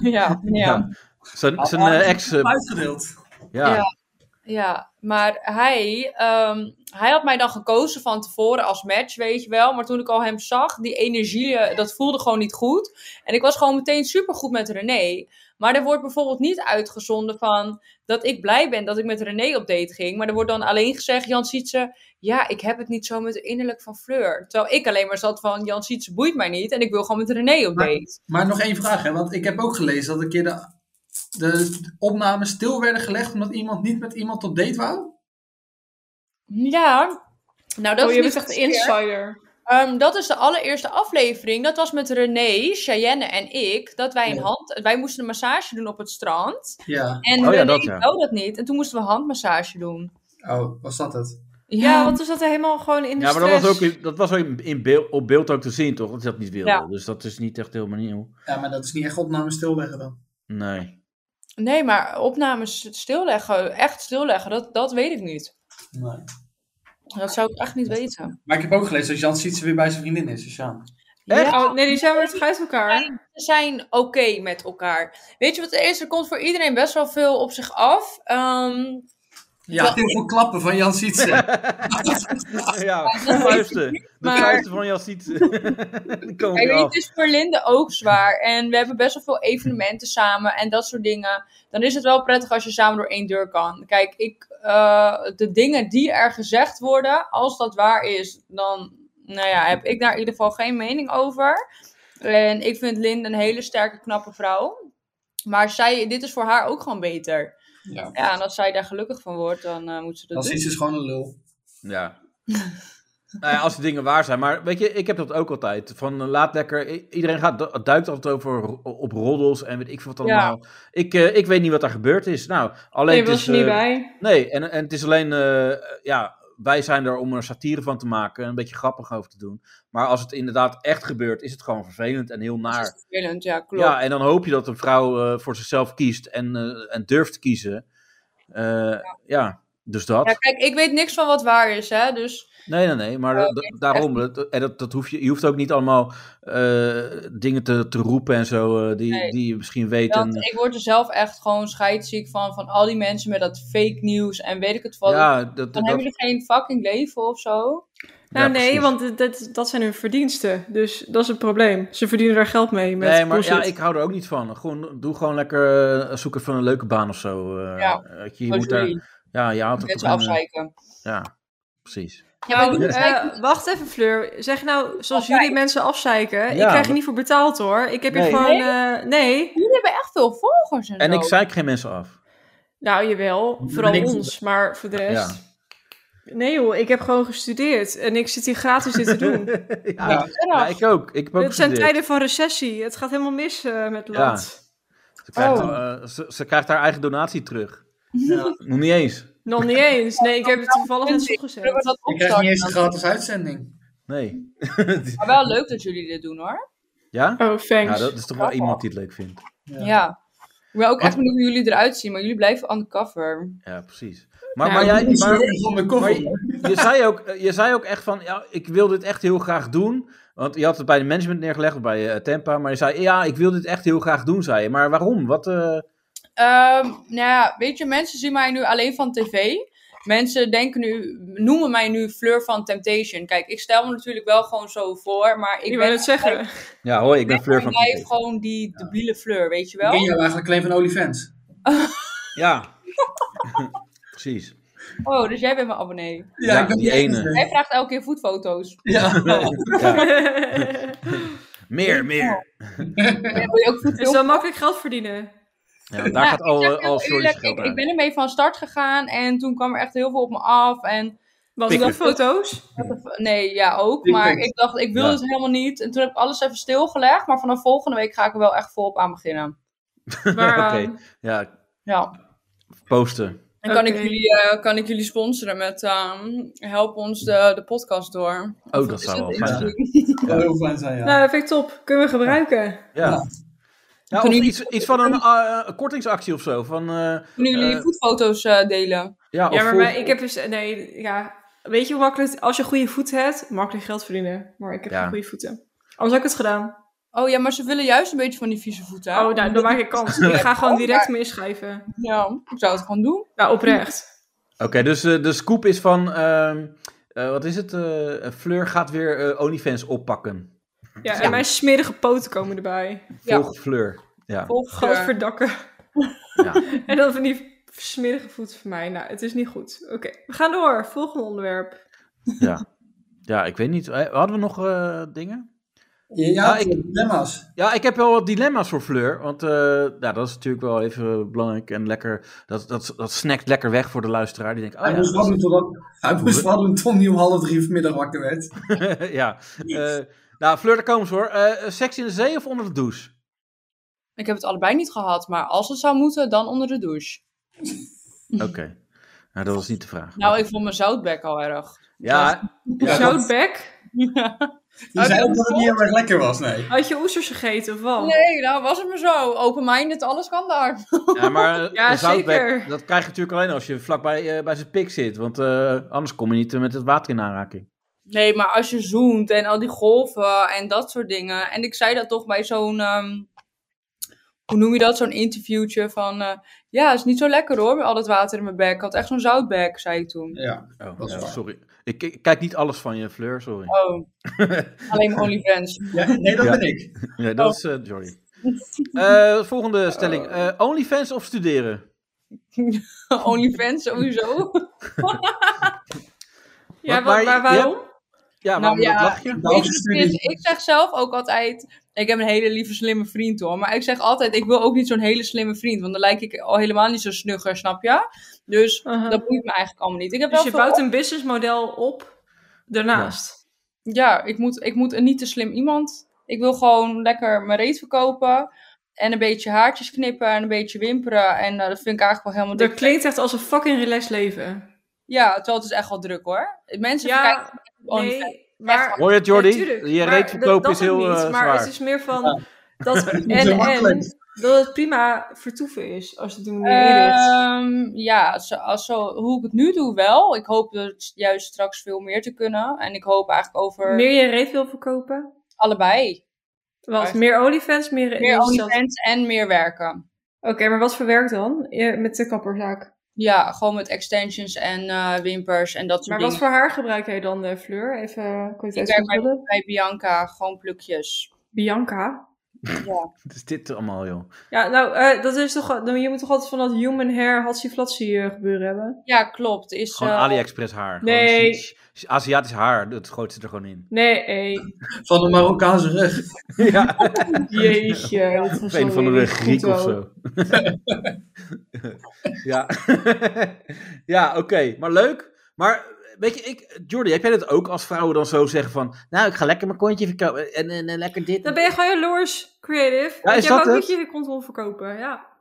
ja, ja,
Zijn, zijn eh, ex... eh,
Uitgedeeld.
ja.
ja. ja, maar hij, ehm, hij had mij dan gekozen van tevoren als match, weet je wel. Maar toen ik al hem zag, die energie, eh, dat voelde gewoon niet goed. En ik was gewoon meteen supergoed met René. Maar er wordt bijvoorbeeld niet uitgezonden van dat ik blij ben dat ik met René op date ging. Maar er wordt dan alleen gezegd, Jan Sietse, ja, ik heb het niet zo met het innerlijk van Fleur. Terwijl ik alleen maar zat van, Jan Sietse boeit mij niet en ik wil gewoon met René op
Maar-
date.
Maar nog één vraag, hè, want ik heb ook gelezen dat een keer de, de opnames stil werden gelegd omdat iemand niet met iemand op date wou.
Ja, nou dat
oh,
is
je
niet
bent echt een
verkeerd.
insider.
Ehm, dat is de allereerste aflevering. Dat was met René, Cheyenne en ik. Dat wij een
Ja.
hand. Wij moesten een massage doen op het strand.
Ja.
En
Oh ja,
René
dat, ja.
wou dat niet. En toen moesten we handmassage doen.
Oh, was dat het?
Ja, want we zaten helemaal gewoon in de
Ja, maar dat was ook,
stress.
in- dat was ook in- in beeld, op beeld ook te zien, toch? Dat hij dat niet wilde.
Ja.
Dus dat is niet echt helemaal nieuw.
Ja, maar dat is niet echt opnames stilleggen dan.
<laughs>
Nee.
Nee, maar opnames stilleggen, echt stilleggen, dat, dat weet ik niet.
Nee.
Dat zou ik echt niet weten.
Maar ik heb ook gelezen dat Jan Sietse weer bij zijn vriendin is, dus ja.
Echt?
Ja,
Oh, nee, die zijn weer terug uit elkaar.
ze zijn oké met elkaar. Weet je wat het is? Er komt voor iedereen best wel veel op zich af. Ehm,
Ja, heel veel klappen van Jan
<laughs>
Sietse.
Ja, <laughs> vuisten. De
Maar-
vuisten van <laughs> Jassiet. Die komen
Kijk,
weer
het
af.
is dus voor Linde ook zwaar. En we hebben best wel veel evenementen samen en dat soort dingen. Dan is het wel prettig als je samen door één deur kan. Kijk, ik, eh, de dingen die er gezegd worden, als dat waar is, dan nou ja, heb ik daar in ieder geval geen mening over. En ik vind Linde een hele sterke, knappe vrouw. Maar zij, dit is voor haar ook gewoon beter.
Ja.
Ja, en als zij daar gelukkig van wordt, dan eh, moet ze
Jan
dat doen.
Sietse is gewoon een lul.
Ja. Nou ja, als die dingen waar zijn. Maar weet je, ik heb dat ook altijd. Van eh, laat lekker. i- Iedereen gaat, du- duikt altijd over ro- op roddels en weet ik veel wat
Ja.
allemaal. Ik, eh, ik weet niet wat daar gebeurd is. Nou, alleen.
Nee,
het
was
is,
je niet
eh,
bij.
Nee, en, en het is alleen, eh, ja, wij zijn er om er satire van te maken en een beetje grappig over te doen. Maar als het inderdaad echt gebeurt, is het gewoon vervelend en heel
Dat
naar.
is vervelend, ja, klopt.
Ja, en dan hoop je dat een vrouw eh, voor zichzelf kiest en, eh, en durft te kiezen. Eh, ja. dus dat.
ja, kijk, ik weet niks van wat waar is, hè. Dus
Nee, nee, nee, maar da-
Oh,
daarom, dat- en dat, dat hoef je, je hoeft ook niet allemaal eh, dingen te, te roepen en zo, eh, die,
Nee.
die je misschien weet.
Want
en,
ik word er zelf echt gewoon scheidziek van. Van al die mensen met dat fake nieuws en weet ik het wat.
ja, dat,
dan
dat,
hebben jullie geen fucking leven of zo.
Nou
ja,
nee,
precies.
want dit- dit- dat zijn hun verdiensten. Dus dat is het probleem. Ze verdienen daar geld mee met
nee, maar
bullshit.
ja, ik hou er ook niet van. Gewoon, doe gewoon lekker eh, zoeken van een leuke baan of zo. eh,
Ja.
weet je, je
Wat
moet daar,
jullie
ja, je haalt
mensen
toch een, eh,
afzeiken.
Ja, precies.
Ja, maar
Nou,
jullie
eh,
zeiken-
wacht even, Fleur. Zeg nou, zoals
Afzeiken.
jullie mensen afzeiken. Ik
Ja,
krijg er
dat-
niet voor betaald hoor. Ik heb
Nee.
hier gewoon. eh, nee.
jullie hebben echt veel volgers en,
En
zo.
ik zeik geen mensen af.
Nou, jawel. Vooral
niks.
ons, maar voor de rest. Nee joh, ik heb gewoon gestudeerd. En ik zit hier gratis dit
<laughs>
te doen.
ja.
Ja,
Ja, ik ook. Ik heb ook
Het zijn
gestudeerd.
tijden van recessie. Het gaat helemaal mis eh, met het
Ja.
land.
Ze
Oh.
krijgt, eh, ze, ze krijgt haar eigen donatie
<laughs>
terug.
Ja.
Nog niet eens.
Nog niet eens. Nee, ik heb het toevallig net zo
Zullen we
gezet.
dat
Ik krijg niet
opstarten?
eens een gratis uitzending.
Nee.
Maar wel leuk dat jullie dit doen hoor.
ja?
Oh,
Ja,
thanks.
dat is toch wel iemand die het leuk vindt.
Ja.
Ja.
Ik ben ook echt benieuwd hoe jullie eruit zien. Maar jullie blijven undercover.
Ja, precies. Maar,
Nou,
maar jij...
Iets
Maar,
meer van de koffer.
Maar je, je zei ook, eh, je zei ook echt van, ja, ik wil dit echt heel graag doen. Want je had het bij de management neergelegd, bij eh, Tempa. Maar je zei, ja, ik wil dit echt heel graag doen, zei je. Maar waarom? Wat, eh,
Ehm, nou ja, weet je, mensen zien mij nu alleen van tv. Mensen denken nu, noemen mij nu Fleur van Temptation. Kijk, ik stel me natuurlijk wel gewoon zo voor, maar ik
Ik
ben
wou het zeggen.
Ja, hoi, ik ben Fleur van
mij
Kiepen.
gewoon die debiele Fleur, weet je
Ik
wel?
ken jou eigenlijk alleen van Olifants.
<laughs>
Ja. Precies.
Oh, dus jij bent mijn abonnee.
Ja, die ene.
Hij vraagt elke keer voetfoto's.
Ja.
Ja. Meer, meer.
Dan wil je ook eh, voetfilmpjes
<laughs> dus dan makkelijk geld verdienen.
Ja, want daar
Ja,
gaat
ik zeg
al,
heel
al Shorty's
eerlijk,
geld
ik, ik
uit.
ben ermee van start gegaan en toen kwam er echt heel veel op me af. En
Was
Pikken.
dat
<laughs>
foto's?
nee, ja, ook.
Ik
Maar
ook.
ik dacht, ik wil
Ja.
het helemaal niet. En toen heb ik alles even stilgelegd, maar vanaf volgende week ga ik er wel echt volop aan beginnen.
Waaraan?
Oké.
ehm,
Ja,
Ja.
posten. Oh,
En kan, ik
Oké.
jullie, eh, kan ik jullie sponsoren met ehm, help ons de, de podcast door.
Oh,
Of
dat
is
zou wel
het
fijn
Instagram?
zijn.
Dat zou heel fijn zijn, ja.
Nou, dat vind ik top. Kunnen we gebruiken.
Ja. Ja, of
Kunnen jullie-
iets, iets van een eh, een kortingsactie of zo. Van, eh,
Kunnen jullie
Eh.
voetfoto's eh, delen?
ja, of
Ja, maar
volg-
mij- ik heb dus... Nee, ja. Weet je hoe makkelijk... Als je goede voet hebt, makkelijk geld verdienen. Maar ik heb
Ja.
geen goede voeten. Anders had ik het gedaan.
Oh ja, maar ze willen juist een beetje van die vieze voeten.
Oh, nou, dan maak ik kans. Ik ga gewoon
Oh,
direct me inschrijven.
Nou, ik zou het gewoon doen.
Nou, oprecht.
Oké, dus eh, de scoop is van... ehm, eh, wat is het? eh, Fleur gaat weer eh, OnlyFans oppakken.
Ja,
Ja.
en mijn smerige poten komen erbij.
Ja.
Volg Fleur. Ja.
Volg eh,
Godverdakken.
Ja.
<laughs> En dan van die smerige voet van mij. Nou, het is niet goed. Oké, we gaan door. Volgende onderwerp.
ja. ja, ik weet niet. Eh, Hadden we nog eh, dingen?
Ja,
Ja, Ah, ik-
dilemma's.
Ja, ik heb wel wat dilemma's voor Fleur. Want eh, ja, dat is natuurlijk wel even eh, belangrijk en lekker. Dat, dat, dat snackt lekker weg voor de luisteraar. Die denkt, oh
Hij
ja,
moest
<laughs>
wat
dat
doen totdat- hij moest wat doen tot hij om half drie vanmiddag wakker werd.
is- ja. Eh, nou, Fleur, daar komen ze hoor. Eh, seks in de zee of onder de douche?
Ik heb het allebei niet gehad, maar als het zou moeten, dan onder de douche.
Oké. Nou, dat was niet de vraag.
Nou, ik vond mijn zoutbek al erg. <laughs>
ja, ja,
Zoutbek?
Je
Ah,
Uit
zei
de
ook dat het niet heel erg lekker was, nee.
Had je oesters gegeten of wat?
Nee, nou was het maar zo. Open-minded, alles kan daar.
Ja,
<laughs>
maar
Ja,
een zoutbek,
zeker.
dat krijg je natuurlijk alleen als je vlakbij eh, bij zijn pik zit. Want eh, anders kom je niet eh, met het water in aanraking.
Nee, maar als je zoent en al die golven en dat soort dingen. En ik zei dat toch bij zo'n, ehm, hoe noem je dat, zo'n interviewtje van... eh, ja, is niet zo lekker hoor, met al dat water in mijn bek. Ik had echt zo'n zoutbek, zei ik toen.
Ja.
Oh,
Dat is
ja,
waar.
sorry. Ik, ik kijk niet alles van je, Fleur, sorry.
Oh, alleen mijn OnlyFans. <laughs>
Ja, nee, dat
Ja.
ben ik.
Nee, dat is eh
<laughs>
Jordi. Eh, volgende stelling. Eh, Onlyfans of studeren?
OnlyFans sowieso.
Ja,
Maar-
wa-
maar-
maar waarom?
Ja,
Nou
waarom
ja,
dat lach je?
Nou,
ik,
studie.
vind- Dus ik zeg zelf ook altijd. Ik heb een hele lieve, slimme vriend hoor. Maar ik zeg altijd: ik wil ook niet zo'n hele slimme vriend. Want dan lijk ik al helemaal niet zo snugger, snap je? Dus
Aha.
dat boeit me eigenlijk allemaal niet. Ik heb
Dus je
wel
bouwt
veel...
een businessmodel op daarnaast.
Ja, ik moet, ik moet een niet te slim iemand. Ik wil gewoon lekker mijn reet verkopen. En een beetje haartjes knippen en een beetje wimperen. En eh, dat vind ik eigenlijk wel helemaal
Dat
dik.
klinkt echt als een fucking relaxed leven.
Ja, terwijl het is echt wel druk hoor. Mensen kijken.
Ja,
OnlyFans.
nee, maar...
Hoor je het, Jordi?
Ja, tuurlijk,
je
maar
reet
dat-
verkopen
dat
is heel
niet,
eh,
Maar
zwaar.
het is meer van...
<laughs>
Dat en,
is heel
en
makkelijk.
dat het prima vertoeven is, als je het op die manier inricht.
Ehm, ja, zo, als zo, hoe ik het nu doe wel. Ik hoop dat juist straks veel meer te kunnen. En ik hoop eigenlijk
Eh,
over
Meer je reet wil verkopen?
allebei.
Wat?
Juist.
Meer OnlyFans, meer...
Meer
zelf-
OnlyFans en meer werken.
Oké, maar wat voor werk dan? Je- Met de kapperzaak.
Ja, gewoon met extensions en eh, wimpers en dat soort
Maar
dingen.
wat voor haar gebruik jij dan, eh, Fleur? Even
Ik
kwaliteit
werk bij,
controle.
bij Bianca, gewoon plukjes.
Bianca.
Wat is dit allemaal, joh?
Ja, nou, eh, dat is toch, dan- je moet toch altijd van dat human hair hatsi flatsi eh, gebeuren hebben?
Ja, klopt. Is,
Gewoon
eh,
AliExpress haar.
nee.
Gewoon Chi- Chi- Aziatisch haar, dat gooit ze er gewoon in.
Nee, eh,
Van de Marokkaanse rug.
Ja, <laughs>
jeetje. dat
of
was
een
wel
van
weer
de
niet goed
Griek of
ook.
zo. <laughs> ja, ja oké. Maar leuk. Maar weet je, ik, Jordi, heb jij dat ook als vrouwen dan zo zeggen van... Nou, ik ga lekker mijn kontje verkopen en, en, en lekker dit.
Dan ben je gewoon jaloers, creative.
Ja,
Want
is
je hebt
dat
ook
het?
niet je kont wil verkopen, ja.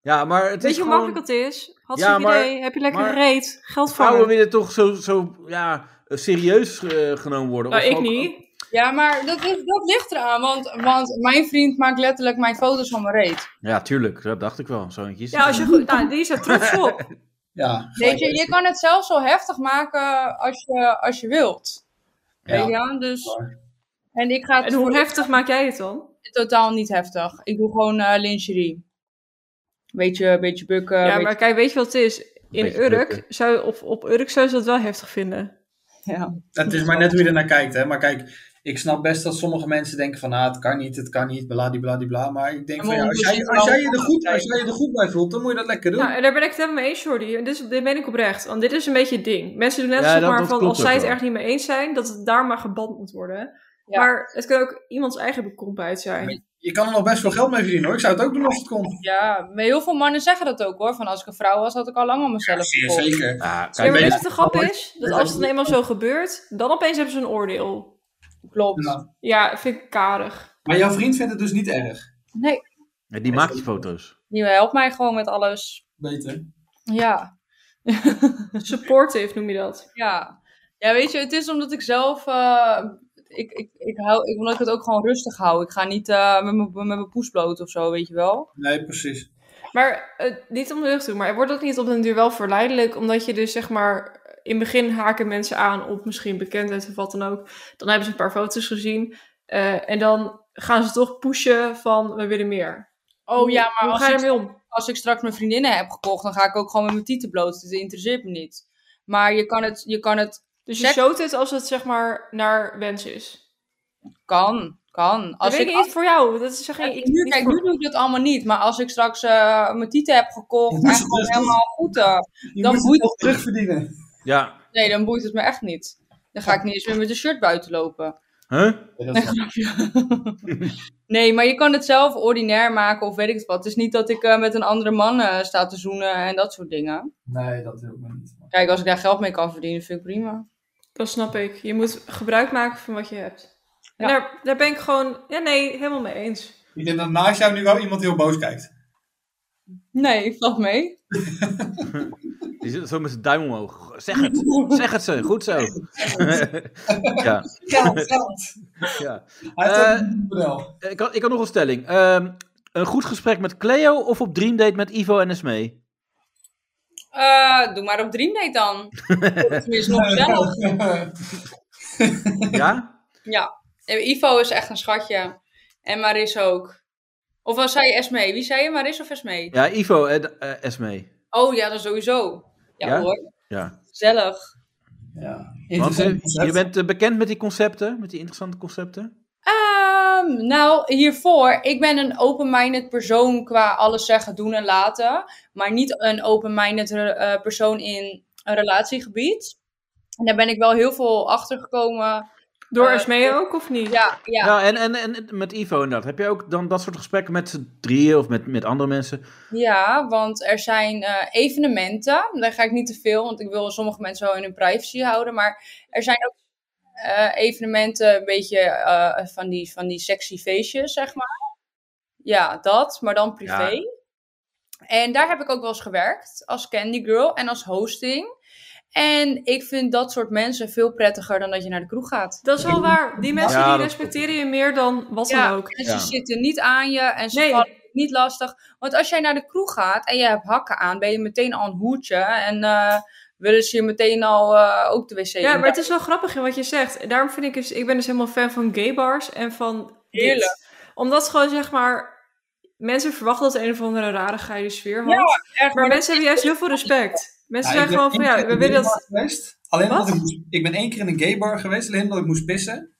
Ja, maar het
Weet
is
je hoe
gewoon...
makkelijk dat is? Had
Ja,
ze
maar-
idee, heb je lekker
maar-
reet, geld
Vrouwen
voor.
willen toch zo, zo ja, serieus eh, genomen worden.
Nou,
Of
ik
ook-
niet.
Ja, maar dat, is, dat ligt eraan. Want, want mijn vriend maakt letterlijk mijn foto's van mijn reet.
Ja, tuurlijk. Dat dacht ik wel. Zo eentje is
Ja, als je goed, nou, die is er
<laughs>
trots op.
Ja.
Weet je, je kan het zelf zo heftig maken als je, als je wilt.
Ja.
Weet je, wel? dus. En ik ga het
En hoe
voor-
heftig maak jij het dan?
totaal niet heftig. Ik doe gewoon eh, lingerie. Beetje, beetje bukken.
Ja,
beetje-
maar kijk, weet je wat het is? In
Beetje
Urk,
drukken.
zou, op, op Urk zou ze dat wel heftig vinden.
<laughs> ja.
Het is maar net hoe je er naar kijkt, hè. Maar kijk, ik snap best dat sommige mensen denken van, ah, het kan niet, het kan niet, bladibladibla. Maar ik denk
Ja,
van,
maar
ja, als, jij, als, jij je er goed, als jij je er goed bij voelt, dan moet je dat lekker doen.
Nou, en daar ben ik het helemaal mee eens, Jordi. En Dit, is- dit ben ik oprecht. Want dit is een beetje het ding. Mensen doen net
Ja,
alsof
dat-
maar
dat
van
klopt
als zij
ook
het
wel.
erg niet mee eens zijn, dat het daar maar geband moet worden.
Ja.
Maar het kan ook iemands eigen bekrompenheid zijn.
Je kan er nog best veel geld mee verdienen, hoor. Ik zou het ook doen als het kon.
ja, maar heel veel mannen zeggen dat ook hoor. Van als ik een vrouw was, had ik al lang aan mezelf gekocht.
zeker.
Ah,
Ja, maar
kijk,
weet je
weet-
wat de grap is? Dat
Ja,
als het
dat-
eenmaal zo gebeurt, dan opeens hebben ze een oordeel.
Klopt.
Ja.
Ja, vind ik <laughs> karig.
Maar jouw vriend vindt het dus niet erg.
Nee,
ja, die maakt die foto's.
die helpt mij gewoon met alles.
Beter.
Ja,
Supportive noem je dat.
ja. Ja, weet je, het is omdat ik zelf eh, ik, ik, ik hou, ik, omdat ik het ook gewoon rustig hou. Ik ga niet eh, met mijn- met mijn poes bloot of zo, weet je wel.
Nee, precies.
Maar eh, niet om de rug toe, maar het wordt ook niet op den duur wel verleidelijk, omdat je dus zeg maar in het begin haken mensen aan op misschien bekendheid of wat dan ook. Dan hebben ze een paar foto's gezien eh, en dan gaan ze toch pushen van we willen meer.
Oh ja, maar
Hoe
als
ga je
ik-
ermee om?
als ik straks mijn vriendinnen heb gekocht, dan ga ik ook gewoon met mijn tieten bloot. Dat interesseert me niet. Maar je kan het, je kan het,
Dus je
Check.
showt het als het zeg maar naar wens is.
kan, kan.
Als
Als
dat weet
ik,
ik niet voor jou. Dat is zeg maar, ik,
nu,
niet
kijk,
voor-
nu doe ik dat allemaal niet. Maar als ik straks eh, mijn tieten heb gekocht en gewoon helemaal goed heb,
Je
Dan
moet
boeit
het toch
het niet.
terugverdienen.
Ja.
nee, dan boeit het me echt niet. Dan ga ik niet eens meer met een shirt buiten lopen.
Huh?
Nee, maar je kan het zelf ordinair maken of weet ik het wat. Het is niet dat ik eh, met een andere man eh, sta te zoenen en dat soort dingen.
<laughs> Nee, dat wil ik maar niet.
Kijk, als ik daar geld mee kan verdienen, vind ik prima.
Dat snap ik. Je moet gebruik maken van wat je hebt. En
Ja.
daar, daar ben ik gewoon, ja nee, helemaal mee eens.
Ik denk dat naast jou nu wel iemand heel boos kijkt.
Nee, valt mee.
Die zit zo met zijn duim omhoog. Zeg
<laughs>
het. Zeg het ze. Goed zo. <laughs> ja.
Geld, geld.
ja.
Hij heeft
Eh,
ook een model.
Ik, had, ik had nog een stelling. Ehm, een goed gesprek met Cleo of op Dream Date met Ivo en Esmee?
Eh, doe maar op Dreamdate dan. Tenminste, nog zelf.
Ja?
Ja, en Ivo is echt een schatje. En Maris ook. Of was zij Esme? Wie zei je, Maris of Esme?
<laughs> Ja, Ivo en eh, Esmee.
Oh ja, dan sowieso. Ja,
Ja?
hoor,
Ja.
gezellig.
Ja,
Want eh,
interessant
je
concept.
bent eh, bekend met die concepten, met die interessante concepten.
Ehm, nou, hiervoor, ik ben een open-minded persoon qua alles zeggen, doen en laten. Maar niet een open-minded re- eh, persoon in een relatiegebied. En daar ben ik wel heel veel achter gekomen.
Door
Eh,
Esmee ook of niet?
Ja, ja,
Ja, en, en, en met Ivo inderdaad. Heb je ook dan dat soort gesprekken met z'n drieën of met, met andere mensen?
Ja, want er zijn eh, evenementen. Daar ga ik niet te veel, want ik wil sommige mensen wel in hun privacy houden. Maar er zijn ook eh, evenementen, een beetje eh, van, die, van die sexy feestjes, zeg maar. Ja, dat, maar dan privé. En daar heb ik ook wel eens gewerkt als Candy Girl en als hosting. En ik vind dat soort mensen veel prettiger dan dat je naar de kroeg gaat.
Dat is wel waar. Die mensen
Ja,
die
dat-
respecteren je meer dan wat
Ja.
dan ook.
En
Ja.
Dus ze zitten niet aan je en ze
Nee.
vallen je niet lastig. Want als jij naar de kroeg gaat en je hebt hakken aan, ben je meteen al een hoertje. En eh, willen ze je meteen al eh, ook de wc
Ja,
in.
maar het is wel grappig in wat je zegt. En Daarom vind ik dus, ik ben dus helemaal fan van gay bars en van dit.
Heerlijk.
Omdat gewoon zeg maar, mensen verwachten dat een of andere rarigheid de sfeer had.
Ja, Echt,
maar
maar
mensen hebben juist heel veel respect. Mensen
Ja, ik
zijn
ben
gewoon van,
één keer
ja,
in
we
een
willen
gaybar
dat...
geweest. Alleen
Wat?
omdat ik, moest- ik ben één keer in een gay bar geweest, alleen omdat ik moest pissen.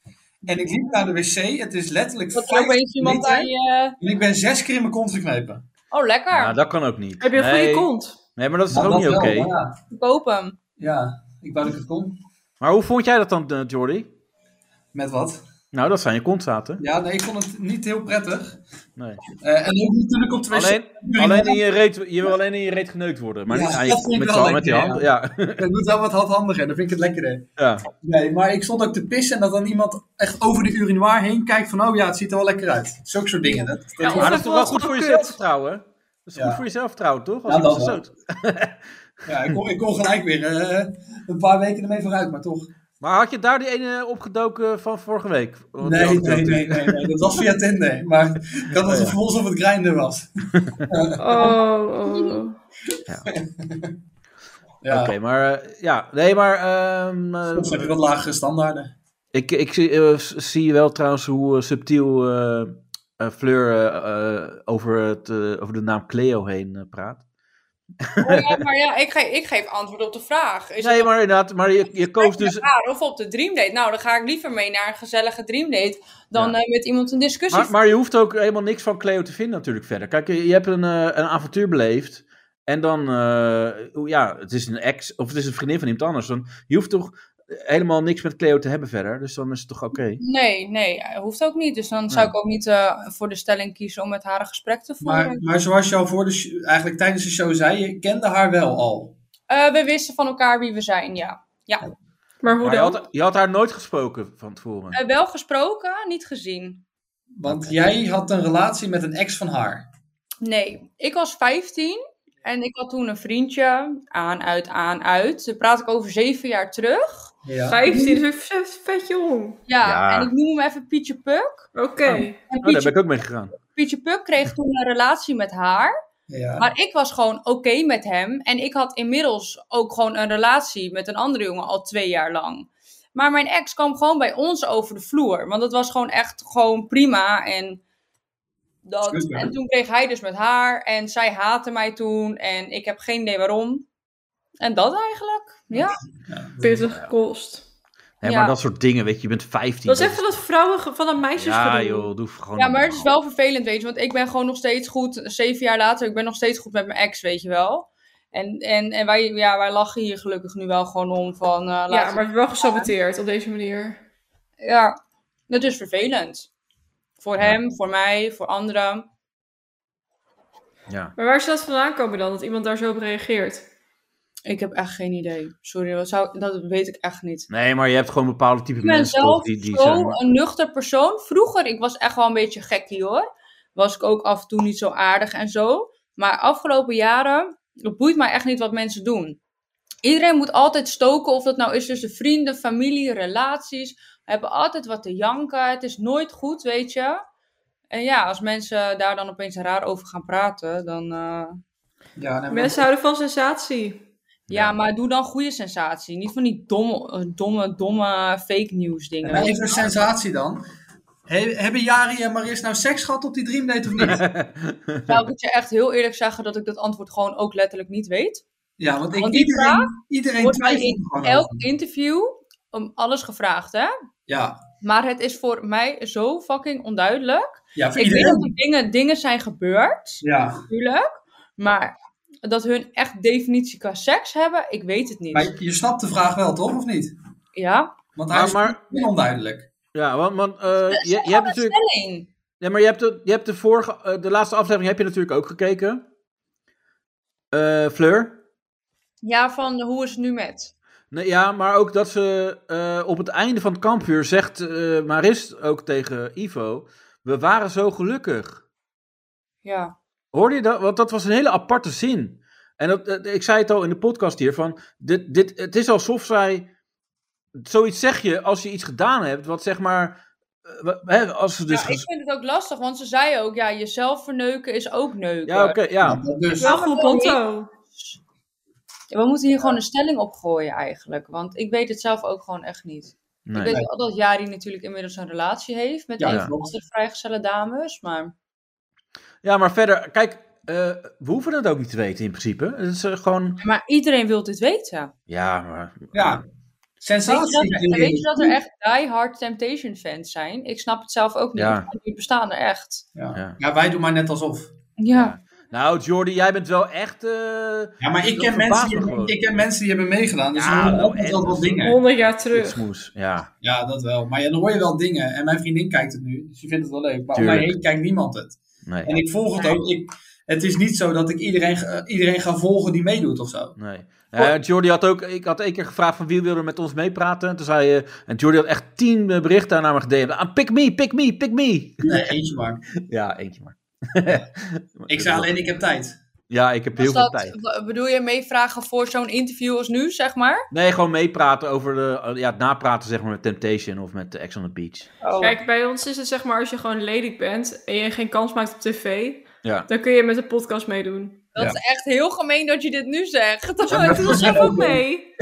En ik liep naar de wc, het is letterlijk
dat er
5
opeens iemand
meter.
aan je...
En ik ben zes keer in mijn kont geknepen.
Oh, lekker.
Ja, Nou, dat kan ook niet.
Heb je een
nee. <laughs>
goede kont?
Nee, maar dat is toch
Nou,
ook niet oké?
wel, maar ja.
Ik koop hem.
ja, ik wou dat ik het kon.
Maar hoe vond jij dat dan, eh, Jordi?
Met wat?
Nou, dat zijn je kontzaten.
Ja, nee, ik vond het niet heel prettig.
Nee.
Eh, en ook natuurlijk op twee
Alleen,
uur in
alleen
de-
in je, reet, je wil alleen in je reet geneukt worden. Maar
Ja,
niet aan
dat vind
je,
ik
met,
wel
z'n- met die
lekker,
hand. Ja. <laughs>
Het moet wel wat handhandiger, dan vind ik het lekkerder.
ja.
Nee, maar ik stond ook te pissen en dat dan iemand echt over de urinoir heen kijkt van, oh ja, het ziet er wel lekker uit. Zulke soort dingen. Dat, dat-
Ja,
Maar dat
dat
is toch wel
was
goed
toch
voor je
kut?
zelfvertrouwen? hè? Dat is
Ja.
goed voor je zelfvertrouwen, toch? Als
Ja,
iemand
dat
zo doet.
ja, ik, kon, ik kon gelijk weer eh, een paar weken ermee vooruit, maar toch.
Maar had je daar die ene opgedoken van vorige week? Want die
Nee,
had ik
nee,
ook.
nee, nee, nee, dat was via Tinder. Maar ik had het gevoel alsof het grinder was.
Oh, oh.
Ja,
Oké, maar eh, ja, nee, maar ehm, eh,
soms heb je wat lagere standaarden.
ik, ik zie, eh, s- zie wel trouwens hoe eh, subtiel eh, eh, Fleur eh, eh, over, het, eh, over de naam Cleo heen eh, praat.
<laughs> Oh, ja, maar ja, ik, ge- ik geef antwoord op de vraag. Is
Nee,
het
maar inderdaad, maar je, je koos dus
raar of op de dreamdate? Nou, dan ga ik liever mee naar een gezellige dreamdate dan
Ja.
eh, met iemand een discussie.
Maar, maar je hoeft ook helemaal niks van Cleo te vinden natuurlijk verder. Kijk, je, je hebt een, eh, een avontuur beleefd. En dan, eh, oeh, ja, het is een ex, of het is een vriendin van iemand anders. Dan, je hoeft toch eh, helemaal niks met Cleo te hebben verder. Dus dan is het toch oké.
Nee, nee, hoeft ook niet. Dus dan zou ik ook niet eh, voor de stelling kiezen om met haar een gesprek te voeren.
Maar, maar zoals je al voor de sh- eigenlijk tijdens de show zei, je kende haar wel al.
Eh, we wisten van elkaar wie we zijn, ja.
Maar hoe
Maar je
dan?
had, je had haar nooit gesproken van tevoren.
Eh, wel gesproken, niet gezien.
Want jij had een relatie met een ex van haar.
Nee, ik was 15 en ik had toen een vriendje. Aan, uit, aan, uit. Daar praat ik over zeven jaar terug.
Ja.
15 is ook vet- vet jong.
Ja,
Ja.
en ik noem hem even Pietje Puk.
Oké.
En
Oh, daar ben
Pietje,
ik ook mee gegaan.
Pietje Puk kreeg toen een relatie met haar.
ja.
Maar ik was gewoon oké met hem. En ik had inmiddels ook gewoon een relatie met een andere jongen al twee jaar lang. Maar mijn ex kwam gewoon bij ons over de vloer. Want dat was gewoon echt gewoon prima. En, dat,
Super.
en toen kreeg hij dus met haar. En zij haatte mij toen. En ik heb geen idee waarom. En dat eigenlijk. Ja.
40 gekost.
Hè,
Ja.
Maar dat soort dingen, weet je, je bent 15.
Dat is even dat vrouwen ge- van dat meisjes
Ja,
gedoe.
joh, doe gewoon.
Ja, maar het is
normaal.
wel vervelend, weet je. Want ik ben gewoon nog steeds goed, zeven jaar later, ik ben nog steeds goed met mijn ex, weet je wel. En, en, en wij, ja, wij lachen hier gelukkig nu wel gewoon om van... eh, laten-
Ja, maar het is wel gesaboteerd op deze manier.
ja, dat is vervelend. Voor hem, voor mij, voor anderen.
Ja.
Maar waar zou dat vandaan komen dan, dat iemand daar zo op reageert?
Ik heb echt geen idee. Sorry, dat, zou, dat weet ik echt niet.
Nee, maar je hebt gewoon bepaalde type
Ik ben
mensen toch,
zelf
die, die
zo
zijn.
een nuchter persoon. Vroeger, ik was echt wel een beetje gekkie hoor. Was ik ook af en toe niet zo aardig en zo. Maar afgelopen jaren, het boeit mij echt niet wat mensen doen. Iedereen moet altijd stoken, of dat nou is tussen vrienden, familie, relaties. We hebben altijd wat te janken. Het is nooit goed, weet je. En ja, als mensen daar dan opeens raar over gaan praten, dan. eh,
Ja, nou, nee, maar-
Mensen houden van sensatie.
Ja, maar doe dan goede sensatie. Niet van die domme, eh, domme, domme fake news dingen.
maar even een sensatie dan. He- hebben Jari en Maris nou seks gehad op die Dreamdate of niet?
Nou, ik moet je echt heel eerlijk zeggen dat ik dat antwoord gewoon ook letterlijk niet weet.
Ja, want, ik,
Want die vraag
iedereen, iedereen
wordt mij
twijfelt
Oh,
in
er
nou.
gewoon
Elk
over.
interview om alles gevraagd, hè?
Ja,
Maar het is voor mij zo fucking onduidelijk.
ja voor
Ik weet dat
iedereen.
er dingen, dingen zijn gebeurd,
Ja,
natuurlijk. Maar dat hun echt definitie qua seks hebben, ik weet het niet.
maar je snapt de vraag wel, toch? Of niet?
Ja?
Want hij
Maar,
is
maar,
heel onduidelijk.
ja, want, want, eh, je, je hebt natuurlijk.
Alleen.
Ja, maar je hebt, de, je hebt de vorige, eh, de laatste aflevering heb je natuurlijk ook gekeken. Eh, Fleur.
Ja, van hoe is het nu met?
Nee, ja, maar ook dat ze eh, op het einde van het kampvuur zegt eh, Maris ook tegen Ivo, we waren zo gelukkig.
Ja.
Hoorde je dat? Want dat was een hele aparte zin. En dat, eh, ik zei het al in de podcast hier, van dit, dit, het is alsof zij, zoiets zeg je als je iets gedaan hebt, wat zeg maar, eh, wa- hè, als ze dus...
ja, ik vind het ook lastig, want ze zei ook, ja, jezelf verneuken is ook neuken.
Ja, oké, ja.
Ja, dus.
Wel goed bonto.
Ja, We moeten hier gewoon een stelling op gooien eigenlijk. Want ik weet het zelf ook gewoon echt niet.
Nee.
ik weet wel dat Jari natuurlijk inmiddels een relatie heeft met
Ja,
een
ja.
van de andere vrijgezelle dames. Maar
Ja, maar verder, kijk, eh, we hoeven het ook niet te weten in principe. Het is eh, gewoon.
maar iedereen wil dit weten.
Ja, maar.
Ja,
Weet je,
sensatie.
dat er, weet je dat er echt die-hard Temptation fans zijn? Ik snap het zelf ook niet.
Ja.
want Die bestaan er echt.
Ja.
Ja. ja, wij doen maar net alsof.
Ja.
Nou, Jordi, jij bent wel echt. eh,
Ja, maar ik
Dat
ken,
verbaast
mensen
me
die,
gewoon.
ik ken mensen die hebben meegedaan. Dus
Ja,
dan hoor je
nou,
ook nog
en-
wel wat dingen.
100 jaar terug.
Smoes. Ja.
Ja, dat wel. Maar ja, dan hoor je wel dingen. En mijn vriendin kijkt het nu. Dus die vindt het wel leuk. Maar om
Tuurlijk.
mij heen kijkt niemand het. En
Nee.
ik volg het ook. Ik, het is niet zo dat ik iedereen, ge- eh, iedereen ga volgen die meedoet of zo.
Nee. Eh, Jordi had ook. Ik had één keer gevraagd van wie wil er met ons meepraten. En toen zei je. en Jordi had echt tien eh, berichten aan haar gedm'd. Ah, pick me, pick me, pick me.
Nee, eentje maar.
Ja, eentje maar.
Ik zei alleen, ik heb tijd.
Ja, ik heb heel
Was
veel
Dus dat,
tijd.
w- bedoel je meevragen voor zo'n interview als nu, zeg maar?
Nee, gewoon meepraten over de. eh, Ja, het napraten zeg maar met Temptation of met Ex on the Beach. <laughs>
Oh,
Kijk, bij ons is het zeg maar als je gewoon lelijk bent en je geen kans maakt op tv,
Ja.
dan kun je met de podcast meedoen.
dat is echt heel gemeen <laughs> dat je dit nu zegt.
Zo, ik doe er zelf ook mee.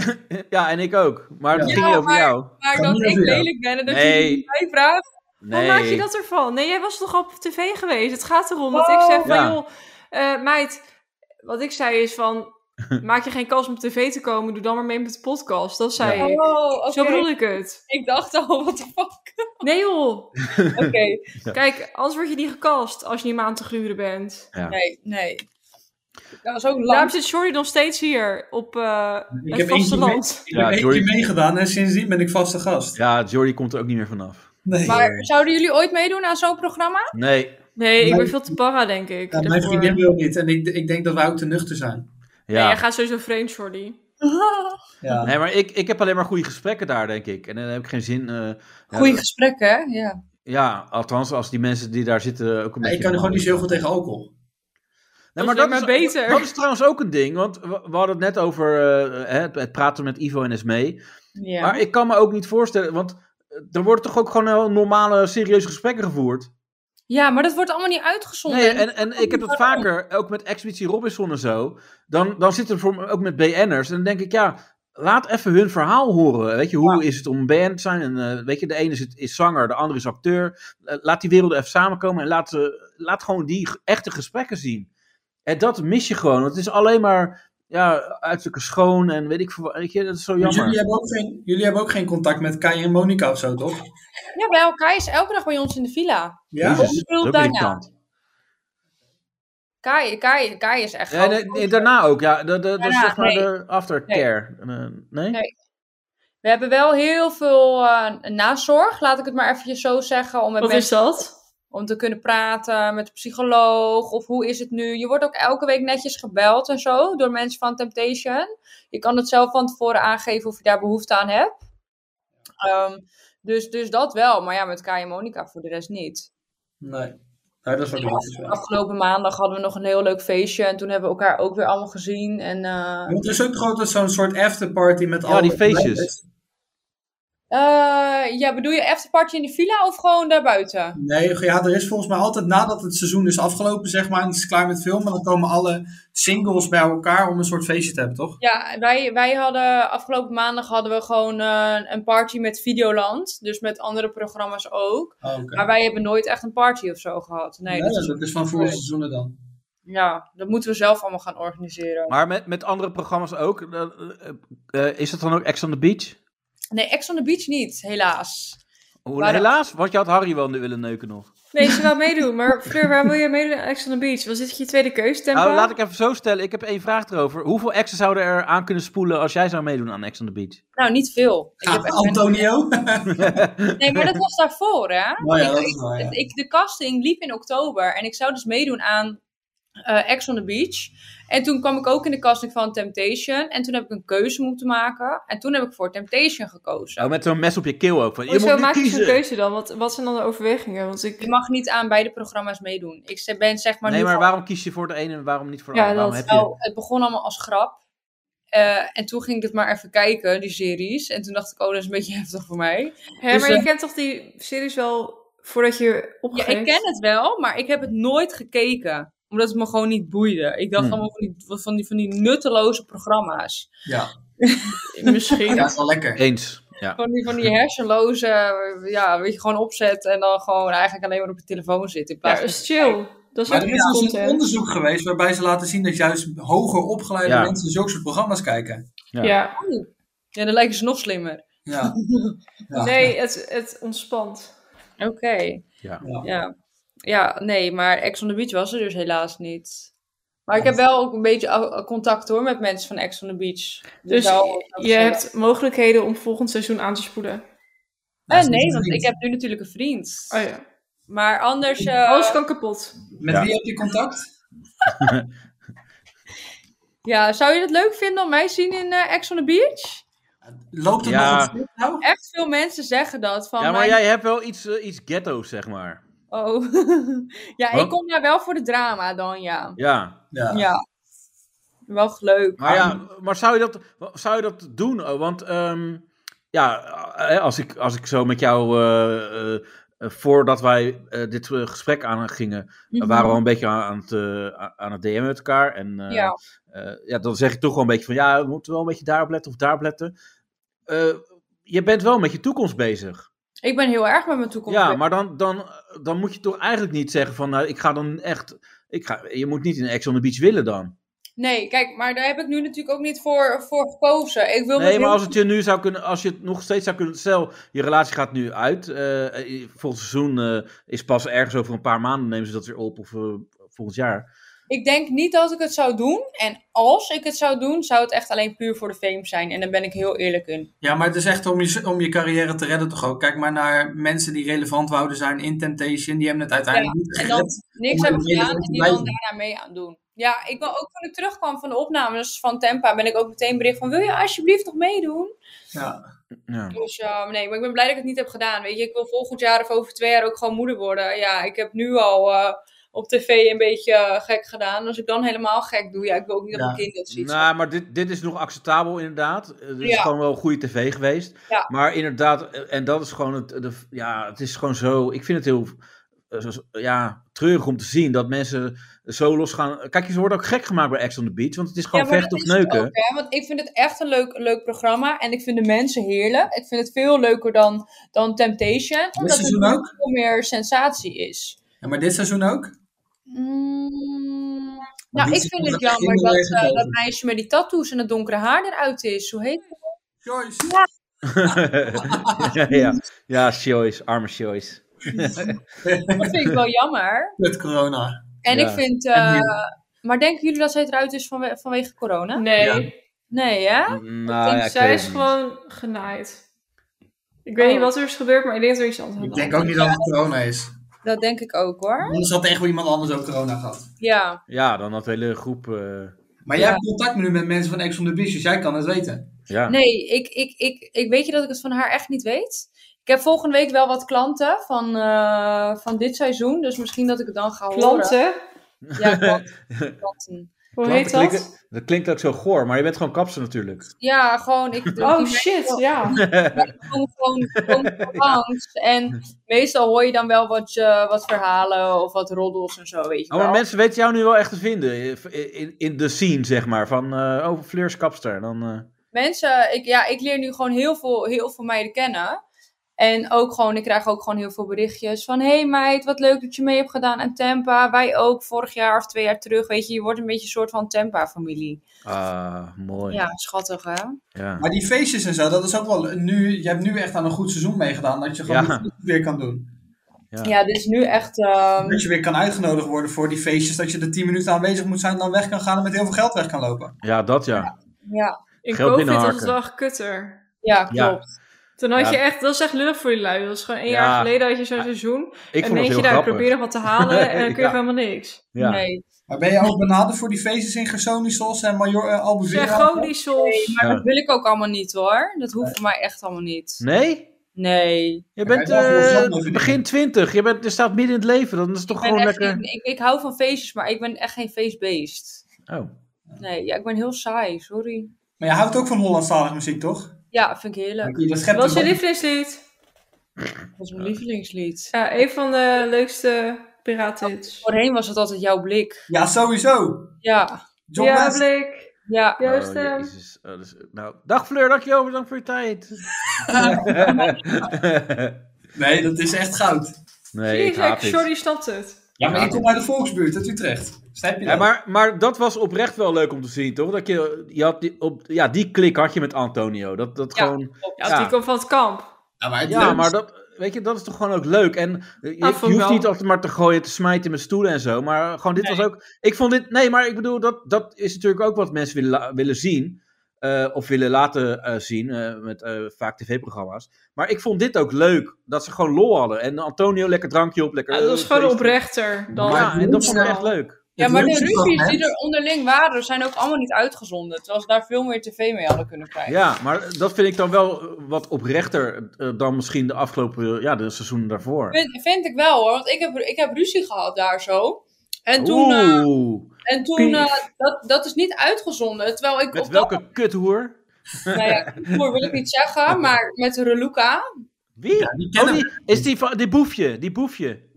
Ja, en ik ook. Maar het
Ja.
ging
Ja,
over
maar-
jou.
Maar
Kan
dat
niet
ik
over jou.
lelijk ben en dat
Nee.
je mij vraagt.
Hoe
Nee.
maak je dat ervan? Nee, jij was toch op tv geweest? Het gaat erom. Wat ik zeg van,
Ja.
joh, eh, meid, wat ik zei is
<laughs>
van, maak je geen kans om op tv te komen, doe dan maar mee met de podcast. Dat zei
Ja.
ik.
Oh, oké.
Zo bedoel ik het.
Ik dacht al, <laughs> wat de fuck.
Nee joh,
Oké,
kijk, anders word je niet gecast als je niet meer aan te gluren bent.
nee, nee. Dat was ook
Daarom
lang.
zit Jordi nog steeds hier op eh,
Ik
het
heb eentje, mee,
vasteland.
ik
Ja,
heb
Jordi-
eentje meegedaan en sindsdien ben ik vaste gast.
Ja, Jordi komt er ook niet meer vanaf.
Nee.
Maar zouden jullie ooit meedoen aan zo'n
<laughs>
programma?
Nee.
Nee, ik
Mijn-
ben veel te para, denk ik.
Ja, mijn
daarvoor.
eh,
vriendin wil niet. En ik, ik denk dat wij ook te nuchter zijn.
Nee,
Ja.
jij gaat sowieso vreemd, Jordi.
Ja.
Nee, maar ik, ik heb alleen maar goede gesprekken daar, denk ik. En dan heb ik geen zin. eh, ja,
Goeie gesprekken, hè? Ja.
Ja, althans, als die mensen die daar zitten ook een
Maar
beetje.
ik kan er gewoon niet zo heel goed tegen alcohol.
Nee,
Dat is alleen maar beter.
Dat is trouwens ook een ding. Want we, we hadden het net over eh, hè, het, het praten met Ivo en Esmee.
Ja.
Maar ik kan me ook niet voorstellen, want eh, er worden toch ook gewoon heel normale, serieuze gesprekken gevoerd.
ja, maar dat wordt allemaal niet uitgezonden.
Nee, en, en ik heb dat vaker, ook met Expeditie Robinson en zo. Dan, dan zit er voor me ook met BN'ers. En dan denk ik, ja, laat even hun verhaal horen. Weet je, hoe is het om een BN te zijn? En, eh, weet je, de ene is, het- is zanger, de andere is acteur. Eh, laat die werelden even samenkomen en laat, ze- laat gewoon die g- echte gesprekken zien. En dat mis je gewoon. want Het is alleen maar ja, uiterlijke schoon en weet ik veel. wat, Weet je, dat is zo
Want
jammer.
Dus Jullie hebben, ook geen, jullie hebben ook geen contact met Kai en Monica of zo, toch?
Ja, bij elkaar is elke dag bij ons in de villa.
Ja?
Jezus, dat is ook
daarna.
irritant.
Kai, Kai, Kai is echt
Ja, en,
gewoon-
eh, daarna ook, ja. Dat, dat, dat is
Daarna,
zeg maar
nee.
de aftercare. Eh, nee?
Nee. We hebben wel heel veel eh, nazorg, laat ik het maar eventjes zo zeggen. Om met
Wat
mensen
is dat?
om te kunnen praten met de psycholoog of hoe is het nu. Je wordt ook elke week netjes gebeld en zo door mensen van Temptation. Je kan het zelf van tevoren aangeven of je daar behoefte aan hebt. Ehm, dus, dus dat wel, maar ja, met Kai en Monica voor de rest niet.
Nee. Nee, dat is wat ik niet zo.
Afgelopen maandag hadden we nog een heel leuk feestje en toen hebben we elkaar ook weer allemaal gezien. En, eh,
Want er is ook altijd zo'n soort afterparty met al
die feestjes.
eh, ja, bedoel je afterparty in de villa of gewoon daarbuiten?
Nee, ja, er is volgens mij altijd nadat het seizoen is afgelopen, zeg maar, en het is klaar met filmen, dan komen alle singles bij elkaar om een soort feestje te hebben, toch?
Ja, wij, wij hadden afgelopen maandag hadden we gewoon eh, een party met Videoland. Dus met andere programma's ook.
Oh, oké.
Maar wij hebben nooit echt een party of zo gehad. Ah, Nee,
Nee,
dat
dat,
is-
is van vorige seizoenen dan.
ja, dat moeten we zelf allemaal gaan organiseren.
Maar met, met andere programma's ook? eh, eh, eh, is dat dan ook Ex on the Beach?
Nee, Ex on the Beach niet, helaas.
Hoe-
Maar-
helaas, want je had Harry wel willen neuken nog.
Nee, ze wil meedoen. Maar Fleur, waar wil je meedoen aan Ex on the Beach? Was dit je tweede keus, Tempa?
Nou, laat ik even zo stellen. Ik heb één vraag erover. Hoeveel exen zouden er aan kunnen spoelen als jij zou meedoen aan Ex on the Beach?
Nou, niet veel. Ik
<laughs>
heb
Ah,
echt-
Antonio?
Nee, maar dat was daarvoor,
<laughs>
hè?
Nou ja, dat is waar, ja.
Het- Ik, de casting liep in oktober en ik zou dus meedoen aan eh Ex on the Beach. En toen kwam ik ook in de casting van Temptation. En toen heb ik een keuze moeten maken. En toen heb ik voor Temptation gekozen.
Zo, met zo'n mes op je keel ook. Van, je
Hoezo
moet nu
maak je zo'n
kiezen.
keuze dan? Wat, wat zijn dan de overwegingen? Want ik...
Je mag niet aan beide programma's meedoen. Ik ze- ben zeg maar
Nee,
nu
maar
van-
waarom kies je voor de ene en waarom niet voor de
Ja,
andere?
dat-
Waarom heb je...
Nou, het begon allemaal als grap. Eh, en toen ging ik het maar even kijken, die series. En toen dacht ik, oh, dat is een beetje <laughs> heftig voor mij.
Hè,
Dus,
maar je
eh,
kent toch die series wel voordat je
Ja,
opgeeft?
ik ken het wel, maar ik heb het nooit gekeken. Omdat het me gewoon niet boeide. Ik dacht
Hmm.
allemaal van die, van, die, van die nutteloze programma's.
Ja,
<laughs>
Misschien.
ja, is wel lekker.
Eens. Ja.
Van die, van die hersenloze, eh, ja, weet je, gewoon opzet en dan gewoon eigenlijk alleen maar op je telefoon zitten. In
Ja,
plaats
dat
van...
is chill. Dat is
Maar
ook
er
iets
is dus een
content.
onderzoek geweest waarbij ze laten zien dat juist hoger opgeleide
Ja.
mensen zulke soort programma's kijken.
Ja.
Ja.
Ja, dan lijken ze nog slimmer.
<laughs>
Ja. ja.
Nee, het, het ontspant.
Oké.
Ja.
Ja. ja, nee, maar Ex on the Beach was er dus helaas niet. Maar ik heb wel ook een beetje eh, contact hoor met mensen van Ex on the Beach.
Dus
wel-
je hebt mogelijkheden om volgend seizoen aan te spoelen.
Eh,
Dat is
nee,
niet
want
vriend.
ik heb nu natuurlijk een vriend.
Oh ja.
Maar anders. eh,
Alles kan kapot.
Met
Ja.
wie heb je contact?
Ja, zou je het leuk vinden om mij te zien in eh, Ex on the Beach?
Loopt het
Ja.
nog een stuk nou?
Echt veel mensen zeggen dat. Van
ja, maar
mijn-
jij hebt wel iets, eh, iets ghetto's, zeg maar.
Oh. <laughs> ja,
Huh?
ik kom daar wel voor de drama dan, ja.
Ja.
Ja.
Ja. Wel leuk.
Maar, ja, maar zou, je dat, zou je dat doen? Oh, Want ehm, ja, eh, als ik, als ik zo met jou, eh, eh, eh, voordat wij eh, dit eh, gesprek aangingen,
Mhm.
We waren al een beetje aan, aan het, eh, aan het DM'en met elkaar. En eh,
Ja.
eh, ja, dan zeg ik toch wel een beetje van ja, we moeten wel een beetje daarop letten of daarop letten. Eh, je bent wel met je toekomst bezig.
Ik ben heel erg met mijn toekomst.
ja,
bezig.
maar dan, dan, dan moet je toch eigenlijk niet zeggen van nou, ik ga dan echt. Ik ga, je moet niet in Ex on the Beach willen dan.
Nee, kijk, maar daar heb ik nu natuurlijk ook niet voor, voor gekozen. Ik wil met
Nee, maar
heel-
als het je nu zou kunnen, als je het nog steeds zou kunnen, stel je relatie gaat nu uit, eh, eh, volgend seizoen eh, is pas ergens over een paar maanden nemen ze dat weer op of eh, volgend jaar.
Ik denk niet dat ik het zou doen. En als ik het zou doen, zou het echt alleen puur voor de fame zijn. En daar ben ik heel eerlijk in.
Ja, maar het is echt om je, om je carrière te redden toch ook. Kijk maar naar mensen die relevant wouden zijn in Temptation. Die hebben het uiteindelijk niet
En dan
gered.
niks
Om
hebben
de reden
gedaan
dat
en
je
die dan
blij bent.
daarna mee aan doen. Ja, ik ben ook toen ik terugkwam van de opnames van Tempa, ben ik ook meteen bericht van: wil je alsjeblieft nog meedoen?
Ja.
Ja.
Dus ehm, nee, maar ik ben blij dat ik het niet heb gedaan. Weet je, ik wil volgend jaar of over twee jaar ook gewoon moeder worden. Ja, ik heb nu al eh, op tv een beetje eh, gek gedaan. Als ik dan helemaal gek doe, ja, ik wil ook niet dat
Ja.
mijn kind dat ziet.
Nou, maar dit, dit is nog acceptabel inderdaad. Eh, Dit is
Ja.
gewoon wel goede tv geweest.
Ja.
Maar inderdaad, eh, en dat is gewoon het, de, ja, het is gewoon zo. Ik vind het heel eh, zo- ja, treurig om te zien dat mensen zo los gaan. Kijk, ze worden ook gek gemaakt bij Ex on the Beach, want het is gewoon
maar
vechten
dat
of
is het
neuken.
ook, hè, want ik vind het echt een leuk, leuk programma. En ik vind de mensen heerlijk. Ik vind het veel leuker dan, dan Temptation. Omdat het
seizoen ook?
veel meer sensatie is.
Ja, maar dit seizoen ook?
Mm,
Maar
nou,
dit
ik
is
vind het
gewoon echt
jammer dat,
heel erg
eh,
gedaan.
dat meisje met die tattoos en het donkere haar eruit is. Hoe heet het?
Joyce.
<laughs> ja, ja, Joyce, arme Joyce.
Dat vind ik
<laughs>
wel jammer.
Met corona.
En
Ja.
ik vind... eh,
En
maar denken jullie dat zij eruit is vanwe- vanwege corona?
Nee,
Ja.
Nee, hè?
Nou,
denk,
ja, ik
zij
weet
is
het niet.
gewoon genaaid. Ik weet
Oh.
niet wat er is gebeurd, maar ik denk dat er iets anders aan
Ik
de hand
denk ook niet dat het corona is.
Dat denk ik ook, hoor.
Anders had echt wel iemand anders ook corona gehad.
Ja.
Ja, dan dat hele groep. eh,
Maar jij
Ja.
hebt contact nu met mensen van Ex on the Beach, dus jij kan het weten.
ja.
Nee, ik, ik, ik, ik weet je dat ik het van haar echt niet weet. Ik heb volgende week wel wat klanten van, eh, van dit seizoen. Dus misschien dat ik het dan ga
is.
horen.
Planten?
<laughs>
Ja, klanten. klanten.
Hoe
Want
heet
dat,
dat?
klinkt, dat klinkt ook zo goor, maar je bent gewoon kapster natuurlijk.
Ja, gewoon... Ik,
Oh
die-
shit, ja.
gewoon, gewoon, gewoon langs.
<laughs>
En meestal hoor je dan wel wat, eh, wat verhalen of wat roddels en zo, weet je
Oh, maar
wel.
mensen weten jou nu wel echt te vinden. In, in, in de scene, zeg maar. Van, eh oh, Fleurs Kapster. Dan, eh,
Mensen, ik, ja, ik leer nu gewoon heel veel, heel veel meiden kennen. En ook gewoon, ik krijg ook gewoon heel veel berichtjes van... hey meid, wat leuk dat je mee hebt gedaan aan Tempa. Wij ook, vorig jaar of twee jaar terug. Weet je, je wordt een beetje een soort van Tempa-familie.
ah, mooi.
Ja, schattig hè?
Ja.
Maar die feestjes en zo, dat is ook wel... Nu, je hebt nu echt aan een goed seizoen meegedaan, dat je gewoon
Ja.
die feestjes weer kan doen.
Ja.
Ja, dit is nu echt... ehm,
Dat je weer kan uitgenodigd worden voor die feestjes, dat je er 10 minuten aanwezig moet zijn, dan weg kan gaan en met heel veel geld weg kan lopen.
ja, dat ja.
ja,
In
Geld
COVID was
binnenharken.
het wel echt kutter.
ja, klopt.
Ja.
Toen had
Ja.
je echt, dat is echt lullig voor die lui. Dat is gewoon één
Ja.
jaar geleden had je zo'n seizoen.
Ik vond het
en
heel
denk je, nou, ik
grappig.
probeer nog wat te
<laughs>
halen en dan kun je
Ja.
helemaal niks.
Ja.
Nee.
Maar ben je ook benaderd voor die feestjes in Gersonisos en Major eh, Albufeira?
Zeg gewoon die sols.
Maar
Ja.
dat wil ik ook allemaal niet hoor. Dat hoeft voor mij echt allemaal niet.
Nee?
Nee.
Je
wij
bent
mogen wel
eh,
zelf even
begin twintig. Je, bent, je staat midden in het leven. Dan is het toch
Ik, ben
gewoon
echt
lekker...
geen- ik, ik hou van feestjes, maar ik ben echt geen feestbeest.
Oh.
Nee, ja, ik ben heel saai, sorry.
Maar je houdt ook van Hollandstalige muziek, toch?
Ja, vind ik heerlijk.
Dat schept
Wat is je
een-
lievelingslied?
Dat is mijn lievelingslied.
Ja, een van de leukste piratenhits.
Voorheen was het altijd jouw blik.
Ja, sowieso.
Ja,
John
Ja, ehm,
West.
blik.
ja.
Jouw
Oh,
stem.
jezus. Oh, dat is- nou, dag Fleur, dankjewel. Bedankt voor je tijd. <laughs>
Nee, dat is echt goud.
nee, ik
Jezus,
haat dit.
Jordi snapt het.
Ja,
Ja.
maar ik kom uit de volksbuurt, uit Utrecht. Snap je
Ja,
dat?
maar, maar dat was oprecht wel leuk om te zien, toch? Dat je, je had die, op, ja, die klik had je met Antonio. Dat, dat
Ja.
gewoon,
Ja,
Ja.
die komt van het kamp.
Ja, maar het
ja,
leukste-
maar dat, weet je, dat is toch gewoon ook leuk. En eh, je,
Ah,
je
vond ik
hoeft
wel.
niet altijd maar te gooien, te smijten met stoelen en zo. Maar gewoon, dit was ook. Ik vond dit. Nee, maar ik bedoel, dat, dat is natuurlijk ook wat mensen willen, la- willen zien. eh, of willen laten eh, zien eh, met eh, vaak tv-programma's. Maar ik vond dit ook leuk. Dat ze gewoon lol hadden. En Antonio, lekker drankje op, lekker.
Ja, dat is
eh,
gewoon
feesten.
oprechter dan.
Ja, en dat vond ik
Ja.
echt leuk.
ja,
het
maar de
leukste van
ruzies
hem-
die er onderling waren, zijn ook allemaal niet uitgezonden. Terwijl ze daar veel meer tv mee hadden kunnen krijgen.
Ja, maar dat vind ik dan wel eh, wat oprechter eh, dan misschien de afgelopen eh, ja, de seizoenen daarvoor.
Vind, vind ik wel hoor, want ik heb, ik heb ruzie gehad daar zo. En toen, eh,
Oeh,
en toen
pief.
eh, dat, dat is niet uitgezonden. Terwijl ik
met
op dat
welke kuthoer?
nou ja, voor wil ik niet
<laughs>
zeggen, maar met Reluca.
Wie?
Ja, die
Oh,
kennen
die, is die, van- die boefje, die boefje.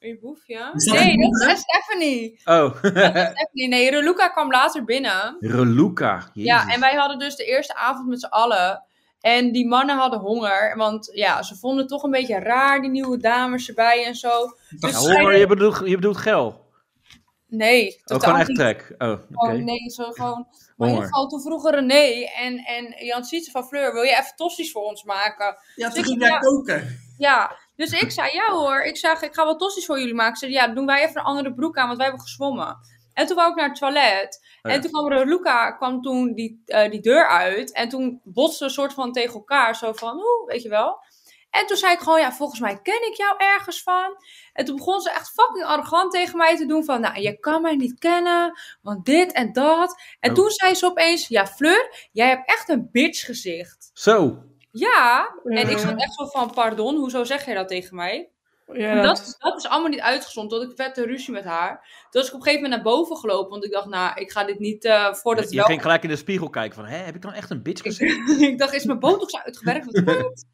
Uw boef, ja?
Is dat
Nee,
een
dat is Stephanie.
Oh, <laughs>
Stephanie. Nee, Reluca kwam later binnen.
Reluca. Jezus.
Ja, en wij hadden dus de eerste avond met z'n allen. En die mannen hadden honger, want ja, ze vonden het toch een beetje raar, die nieuwe dames erbij en zo.
Ja,
Dus
hoor,
zij-
je bedoelt, je bedoelt gel.
Nee,
Oh,
totaal
gewoon echt
niet.
trek. Oh, oké.
Gewoon, nee, zo gewoon. Maar in
Honger.
ieder geval, toen vroegen René en, en Jan Sietse van Fleur, wil je even tossies voor ons maken?
Ja,
Dus
toen
ik-
ging jij
ja.
koken.
Ja, dus ik zei, ja hoor, ik zeg, ik ga wel tossies voor jullie maken. Ze zei, ja, doen wij even een andere broek aan, want wij hebben gezwommen. En toen wou ik naar het toilet.
Oh ja.
En toen kwam er- Luca kwam toen die, eh, die deur uit. En toen botsten we soort van tegen elkaar. Zo van, oeh, weet je wel. En toen zei ik gewoon, ja, volgens mij ken ik jou ergens van. En toen begon ze echt fucking arrogant tegen mij te doen van, nou, je kan mij niet kennen, want dit en dat. En
Oh.
toen zei ze opeens, ja, Fleur, jij hebt echt een bitch gezicht.
Zo.
Ja, en ik
Ja.
Ehm.
zat echt zo van, pardon, hoezo zeg jij dat tegen mij?
Ja,
En dat, dat is allemaal niet uitgezond, tot ik vette ruzie met haar. Toen was ik op een gegeven moment naar boven gelopen, want ik dacht, nou, ik ga dit niet eh, voordat het
je
wel...
ging gelijk in de spiegel kijken van, hè, heb ik dan echt een bitch gezegd?
<laughs> ik dacht, is mijn botox uitgewerkt? Wat goed.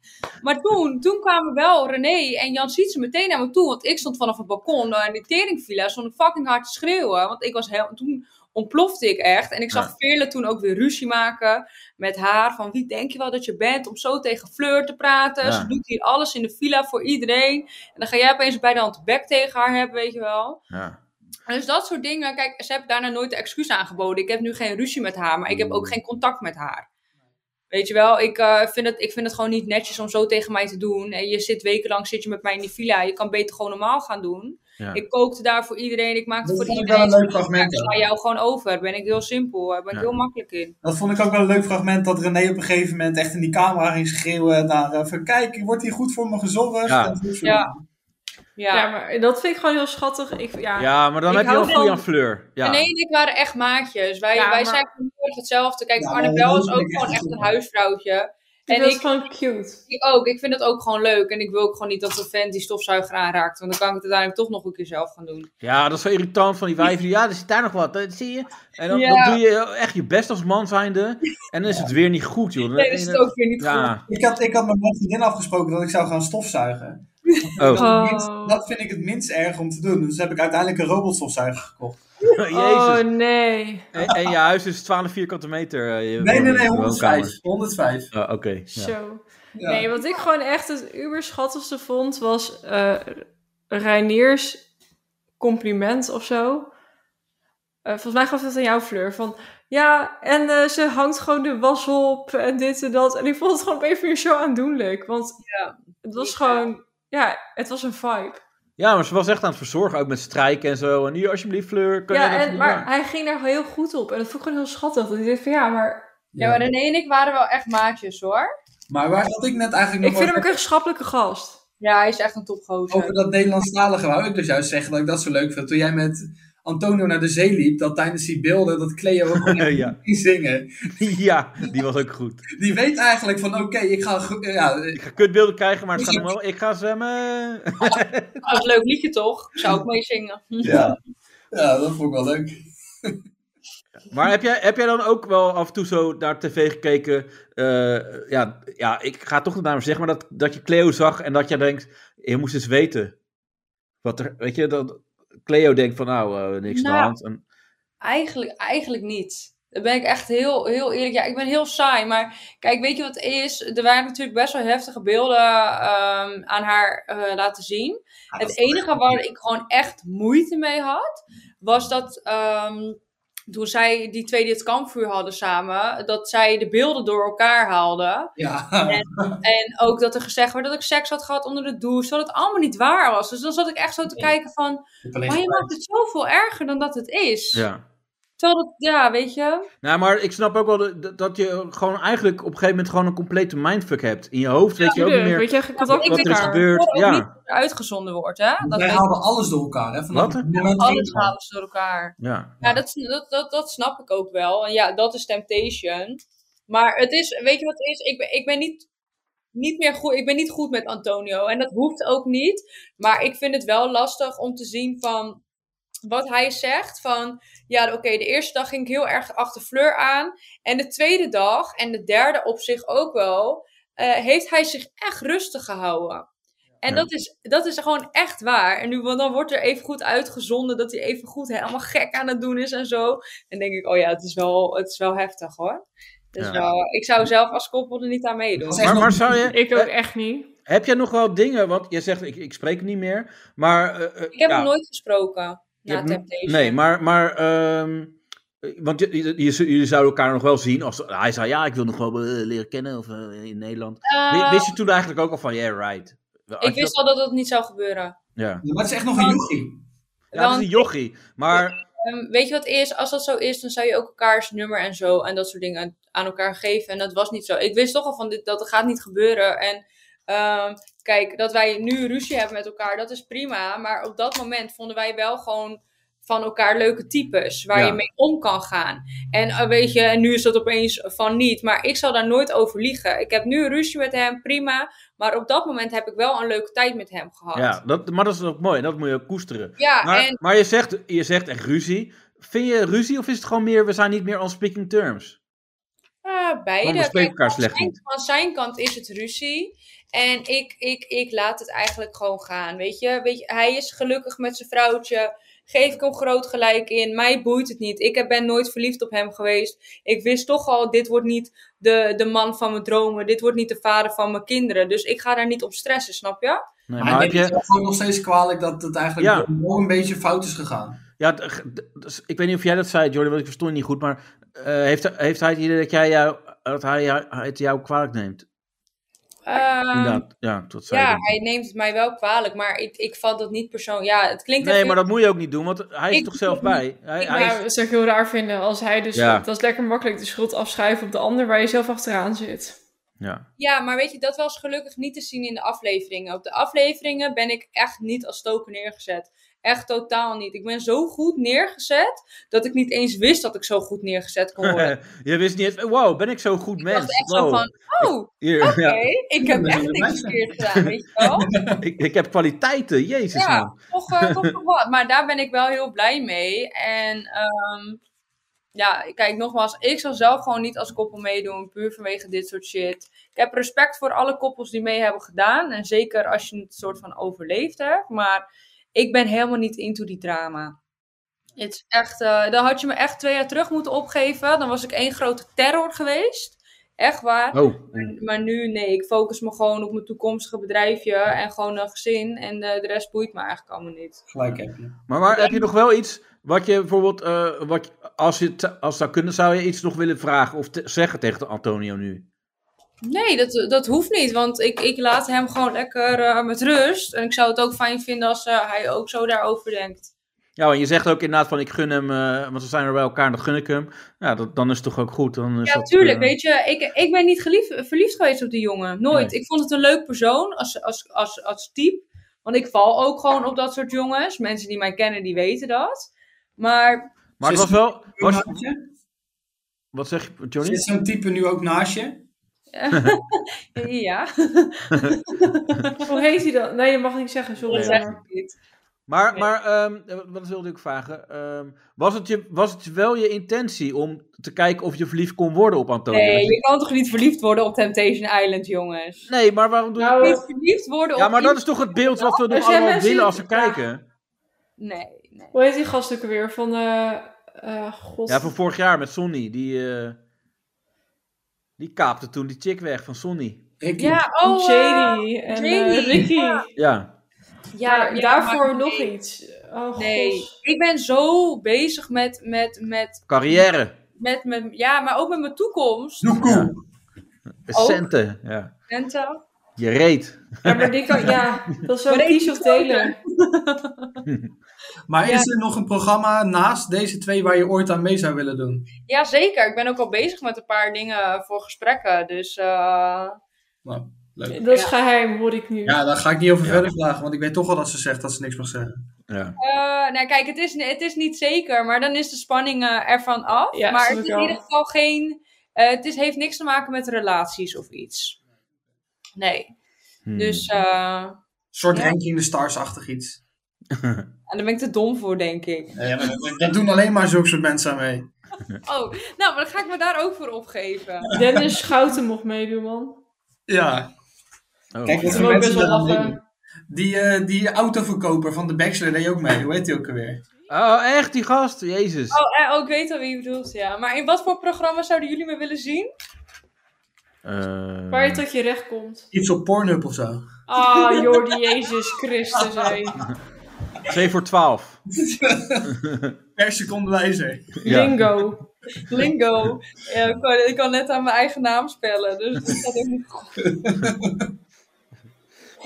maar toen, toen kwamen wel René en Jan Sietsen meteen naar me toe. Want ik stond vanaf het balkon eh, in die teringvilla. Stond ik fucking hard te schreeuwen. Want ik was heel... Toen ontplofte ik echt. En ik zag
Ja.
Veerle toen ook weer ruzie maken met haar. Van wie denk je wel dat je bent om zo tegen Fleur te praten.
Ja.
Ze doet hier alles in de villa voor iedereen. En dan ga jij opeens bij de hand de bek tegen haar hebben, weet je wel.
Ja.
En Dus dat soort dingen, kijk, ze hebben daarna nooit de excuus aangeboden. Ik heb nu geen ruzie met haar, maar ik heb
Mm.
ook geen contact met haar. Weet je wel, ik, eh, vind het, ik vind het gewoon niet netjes om zo tegen mij te doen. En je zit wekenlang zit je met mij in die villa. Je kan beter gewoon normaal gaan doen.
Ja.
Ik kookte daar voor iedereen, ik maakte
Dat
voor
vond ik
iedereen.
wel een leuk
Ja,
fragment.
ik
ook.
sla jou gewoon over. Ben ik heel simpel, daar ben ik
Ja.
heel makkelijk in.
Dat vond ik ook wel een leuk fragment dat René op een gegeven moment echt in die camera ging schreeuwen naar eh, van kijk, wordt hier goed voor me gezorgd?
Ja.
En goed voor
Ja.
me.
Ja.
Ja, maar dat vind ik gewoon heel schattig. Ik, ja.
ja, maar dan
Ik
heb je
hou
wel goede
van-
aan Fleur. Ja.
René en ik waren echt maatjes. Wij,
Ja,
wij
maar-
zijn gewoon heel erg hetzelfde. Kijk,
Ja,
Arnabel
dat
is
vind
ook
ik echt
gewoon echt
super.
een huisvrouwtje.
en
En
dat is
ik-
gewoon cute.
Ik ook. Ik vind het ook gewoon leuk. En ik wil ook gewoon niet dat de vent die stofzuiger aanraakt. Want dan kan ik het uiteindelijk toch nog een keer zelf gaan doen.
Ja, dat is zo irritant van die wijven. die, Ja, er zit daar nog wat, dat zie je. En dan,
Ja.
dan doe je echt je best als man zijnde. En dan is het weer niet goed, joh. Dan-
Nee, dat is het ook weer niet goed.
Ja.
Ik, had, ik had met mijn vriendin afgesproken dat ik zou gaan stofzuigen.
<laughs> Oh,
Oh.
Dat vind ik het minst erg om te doen. Dus heb ik uiteindelijk een robotstofzuiger gekocht.
<laughs> jezus.
Oh nee.
En, en je huis is 12 vierkante meter. eh, je
Nee, nee, nee,
woonkamer.
105. 105.
Oh, Oké. ja.
Zo.
Ja.
Nee, wat ik gewoon echt het uberschattigste vond was eh Reiniers compliment of zo. Eh, volgens mij gaf het aan jou, Fleur. Van ja, en eh, ze hangt gewoon de was op en dit en dat. En ik vond het gewoon op een of andere manier zo aandoenlijk. Want
Ja.
het was
Ja.
gewoon, ja, het was een vibe.
Ja, maar ze was echt aan het verzorgen, ook met strijken en zo. En hier, alsjeblieft, Fleur. Kun
ja,
jij dat
en,
doen?
maar
Ja.
hij ging daar gewoon heel goed op. En dat vond ik gewoon heel schattig. Dat ik dacht van ja, maar
Ja, maar René en ik waren wel echt maatjes hoor.
Maar waar had ik net eigenlijk nog
ik vind hem
over-
ook een schappelijke gast.
Ja, hij is echt een topgozer.
Oh.
Over dat Nederlandstalige wou ik dus juist zeggen dat ik dat zo leuk vind. Toen jij met Antonio naar de zee liep, dat tijdens die beelden dat Cleo ook gewoon
Ja. <laughs>
ging zingen.
ja, die was ook goed.
Die weet eigenlijk van oké, ik ga... go- Ja, eh,
Ik ga kutbeelden krijgen, maar het gaat hem wel. Ik ga zwemmen.
Dat was een leuk liedje toch? Ik zou ook mee zingen.
ja. <laughs> ja, dat vond ik wel leuk.
Maar heb jij, heb jij dan ook wel af en toe zo naar tv gekeken? eh, ja, ja, ik ga toch de naam zeggen, maar dat, dat je Cleo zag en dat jij denkt, je moest eens weten. Wat er, weet je, dat Cleo denkt van nou, eh, niks aan de
Nou.
hand. En,
Eigenlijk, eigenlijk niet. Daar ben ik echt heel, heel eerlijk. Ja, ik ben heel saai. Maar kijk, weet je wat het is? Er waren natuurlijk best wel heftige beelden ehm, aan haar eh, laten zien. het enige waar ik gewoon echt moeite mee had, was dat ehm, toen zij die twee die het kampvuur hadden samen, dat zij de beelden door elkaar haalden.
Ja,
En ook dat er gezegd werd dat ik seks had gehad onder de douche, dat het allemaal niet waar was. Dus dan zat ik echt zo te kijken van,
ik heb alleen
maar je
gelijk.
maakt het zoveel erger dan dat het is.
ja.
Terwijl dat, ja, weet je.
Nou, maar ik snap ook wel de- dat- dat je gewoon eigenlijk op een gegeven moment gewoon een complete mindfuck hebt. In je hoofd weet je ook niet
Tuurlijk,
meer
Weet je, ik had ook
ik
wat er
met
is
denk-
haar.
gebeurd.
Hoor ook
Ja.
niet dat er uitgezonden wordt, hè? Dat
Wij
weet-
halen alles door elkaar. Hè, vanaf
Wat?
het moment
alles
één.
halen ze door elkaar.
Ja.
Ja, dat, dat, dat, dat snap ik ook wel. En ja, dat is Temptation. Maar het is, weet je wat het is? Ik ben, ik ben niet, niet meer goed. Ik ben niet goed met Antonio. En dat hoeft ook niet. Maar ik vind het wel lastig om te zien van wat hij zegt. Van ja, oké, de eerste dag ging ik heel erg achter Fleur aan. En de tweede dag en de derde op zich ook wel. eh, heeft hij zich echt rustig gehouden. En
Ja.
dat, is, dat is gewoon echt waar. En nu, want dan wordt er even goed uitgezonden dat hij even goed helemaal gek aan het doen is en zo. Dan denk ik, oh ja, het is wel, het is wel heftig hoor. Dus
Ja.
wel, ik zou zelf als koppel er niet aan
Dat is
meedoen.
echt
Maar,
nog-
maar zou je,
Ik ook
eh,
echt niet.
heb jij nog wel dingen, want je zegt ik, ik spreek niet meer, maar... eh, eh,
Ik heb
ja,
hem nooit gesproken
je
na
hebt hem-
Temptation.
Nee, maar... maar ehm, eh, want je- je- je- jullie zouden elkaar nog wel zien als... Hij zei, ja, ik wil nog wel eh, leren kennen of, eh, in Nederland.
Eh,
W- Wist je toen eigenlijk ook al van, yeah, right. Had je
ik wist
dat-
al dat dat niet zou gebeuren.
Ja,
Maar het is echt nog
Oh.
een jochie.
ja dat is
Want-
een jochie. Maar
Ehm, weet je wat het is? Als dat zo is, dan zou je ook elkaars nummer en zo en dat soort dingen aan, aan elkaar geven. En dat was niet zo. Ik wist toch al van dit, dat het gaat niet gebeuren. En ehm, kijk, dat wij nu ruzie hebben met elkaar, dat is prima. Maar op dat moment vonden wij wel gewoon van elkaar leuke types waar
Ja.
je mee om kan gaan. En eh, weet je, en nu is dat opeens van niet. Maar ik zal daar nooit over liegen. Ik heb nu ruzie met hem, prima. Maar op dat moment heb ik wel een leuke tijd met hem gehad.
Ja, dat, maar dat is ook mooi. en Dat moet je ook koesteren.
Ja,
maar
en
maar je, zegt, je zegt echt ruzie. Vind je ruzie of is het gewoon meer, we zijn niet meer on speaking terms?
eh,
Gewoon, we
beide.
spreken elkaar
van,
slecht
zijn,
niet.
van zijn kant is het ruzie. En ik, ik, ik laat het eigenlijk gewoon gaan. Weet je? Weet je, hij is gelukkig met zijn vrouwtje. Geef ik hem groot gelijk in. Mij boeit het niet. Ik heb- ben nooit verliefd op hem geweest. Ik wist toch al, dit wordt niet de, de man van mijn dromen. Dit wordt niet de vader van mijn kinderen. Dus ik ga daar niet op stressen, snap je?
Nee,
Maar
maar heb
ik neem
je,
het gewoon nog steeds kwalijk dat het eigenlijk
Ja.
nog een beetje fout is gegaan.
ja, d- g- d- dus ik weet niet of jij dat zei, Jordi, want ik verstond het niet goed. Maar eh, heeft, heeft hij het idee dat, jij jou, dat hij jou, het jou kwalijk neemt?
Ehm,
Inderdaad, ja, dat zei
ja,
ik.
hij neemt het mij wel kwalijk. Maar ik, ik vat dat niet persoonlijk. Ja, het klinkt
Nee,
even-
maar dat moet je ook niet doen, want hij is
Ik
toch zelf
doe het <laughs>
bij. Hij,
Ik
hij
Ja,
is-
dat zou ik heel raar vinden als hij dus...
Ja.
Dat is lekker makkelijk de schuld afschuiven op de ander waar je zelf achteraan zit.
ja.
Ja, maar weet je, dat was gelukkig niet te zien in de afleveringen. Op de afleveringen ben ik echt niet als stoker neergezet. Echt totaal niet. Ik ben zo goed neergezet dat ik niet eens wist dat ik zo goed neergezet kon
<laughs>
worden.
je wist niet eens, wow, ben ik zo'n goed
Oh, Ik dacht
mens?
echt zo
Wow.
van, oh,
Hier, <laughs>
oké,
ja,
ik heb
Ja,
echt
dat
niks
is
verkeerd gedaan, weet je wel?
ik, ik heb kwaliteiten, jezus
Ja.
man.
Toch, eh, toch nog wat. Maar daar ben ik wel heel blij mee. En ehm, ja, kijk, nogmaals, ik zal zelf gewoon niet als koppel meedoen, puur vanwege dit soort shit. Ik heb respect voor alle koppels die mee hebben gedaan. En zeker als je het soort van overleefd hebt. Maar ik ben helemaal niet into die drama. Het is echt, eh, dan had je me echt twee jaar terug moeten opgeven. Dan was ik één grote terror geweest. Echt waar.
Oh,
Maar nu, nee, ik focus me gewoon op mijn toekomstige bedrijfje en gewoon een gezin. En eh, de rest boeit me eigenlijk allemaal niet.
Gelijk heb je.
Maar, maar heb je nog wel iets wat je bijvoorbeeld, eh, wat, je- als, je het zou- als het zou kunnen, zou je iets nog willen vragen of te- zeggen tegen Antonio nu?
Nee, dat, dat hoeft niet, want ik, ik laat hem gewoon lekker eh, met rust. En ik zou het ook fijn vinden als eh, hij ook zo daarover denkt.
Ja, en je zegt ook inderdaad van ik gun hem, eh, want we zijn er bij elkaar en dat gun ik hem. Ja, dat, dan is het toch ook goed. Dan is
Ja,
dat,
tuurlijk,
eh,
weet je, ik, ik ben niet geliefd, verliefd geweest op die jongen. Nooit. Ik vond het een leuk persoon als, als, als, als type. Want ik val ook gewoon op dat soort jongens. Mensen die mij kennen, die weten dat. Maar
Maar het was
Sinds-
wel, was,
Naast je?
wat zeg je, Johnny?
Zit zo'n type nu ook naast je?
ja,
Hoe heet hij dan? Nee, je mag niet zeggen, sorry.
dat zeg ik niet.
Maar, maar ehm, eh, wat wilde ik vragen? Ehm, was, het je, was het wel je intentie om te kijken of je verliefd kon worden op Antonio?
Nee, je kan toch niet verliefd worden op Temptation Island, jongens?
Nee, maar waarom doe je
Nou,
Niet verliefd worden op...
Ja, maar dat
iets-
is toch het beeld wat we nog
Er zijn
allemaal
mensen
willen als
die-
we kijken?
Nee, nee.
Hoe heet die gast ook weer? Van, eh eh, god.
Ja, van vorig jaar met Sonny. Die, eh, die kaapte toen die chick weg van Sonny.
Ricky.
Ja, oh... eh,
Shady en eh,
Shady,
Ricky.
Ja.
Ja,
ja,
daarvoor
maar
nog
nee.
iets. Oh,
Nee,
god.
ik ben zo bezig met, met, met,
Carrière.
met, met... Ja, maar ook met mijn toekomst.
Doekoe.
Ja. Centen. Ja.
Mensen.
Je reet.
Ja, maar die kan, ja, dat is wel
Maar deze
kies of delen.
Maar
Ja.
is er nog een programma naast deze twee waar je ooit aan mee zou willen doen?
Ja, zeker. Ik ben ook al bezig met een paar dingen voor gesprekken. Dus eh,
Leuk.
Dat is
Ja.
geheim, hoor ik nu.
Nou, Ja, daar ga ik niet over
Ja.
verder vragen, want ik weet toch al dat ze zegt dat ze niks mag zeggen.
Ja.
eh, nou kijk, het is, het is niet zeker, maar dan is de spanning eh, ervan af.
Ja,
maar
snap
het is in
ik wel.
ieder geval geen... eh, het is, heeft niks te maken met relaties of iets. Nee.
Hmm.
Dus eh
Een soort
Ja.
ranking de stars-achtig iets.
daar ben ik te dom voor, denk ik.
Ja, maar dat, dat doen alleen maar zulke soort mensen aan mee.
Oh, nou, maar dan ga ik me daar ook voor opgeven.
Dennis Schouten mocht meedoen, man.
Ja.
Oh.
Kijk, dat
Dat
zijn
wil ik
mensen
best
die
wel
dat
lachen.
doen. Die, eh, die autoverkoper van The Bachelor deed ook mee. Hoe heet die ook alweer?
Oh, echt die gast? Jezus.
Oh, eh, oh, ik weet al wie je bedoelt, ja. Maar in wat voor programma zouden jullie me willen zien?
Eh,
Waar je tot je recht komt.
Iets op Pornhub of zo.
Ah, Jordi, Jezus Christus, hé.
2 voor 12.
Per seconde wijzer.
Ja.
Lingo.
Lingo. Ja, ik, kan, ik kan net aan mijn eigen naam spellen, dus dat gaat ook niet goed.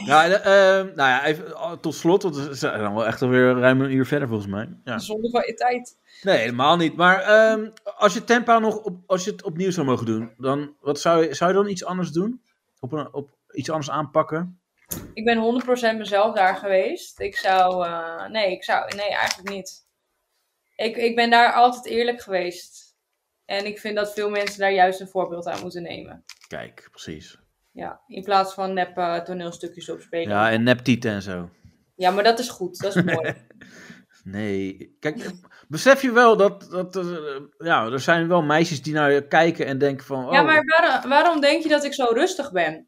Ja, en, eh, ehm, nou ja, even oh, tot slot, want we zijn dan wel echt alweer ruim een uur verder volgens mij. Ja.
Zonder van je tijd.
Nee, helemaal niet. Maar ehm, als je Tempa nog op, als je het opnieuw zou mogen doen, dan wat zou je, zou je dan iets anders doen? Op, een, op iets anders aanpakken?
Ik ben 100% mezelf daar geweest. Ik zou... eh, nee, ik zou... Nee, eigenlijk niet. Ik, ik ben daar altijd eerlijk geweest. En ik vind dat veel mensen daar juist een voorbeeld aan moeten nemen.
Kijk, precies.
Ja, in plaats van nep eh, toneelstukjes opspelen. Ja.
Ja, en neptieten en zo.
maar dat is goed. Dat is
<laughs>
mooi.
Nee, kijk, besef je wel dat, dat er, eh, ja, er zijn wel meisjes die naar je kijken en denken van... Oh,
Ja, maar waarom, waarom denk je dat ik zo rustig ben?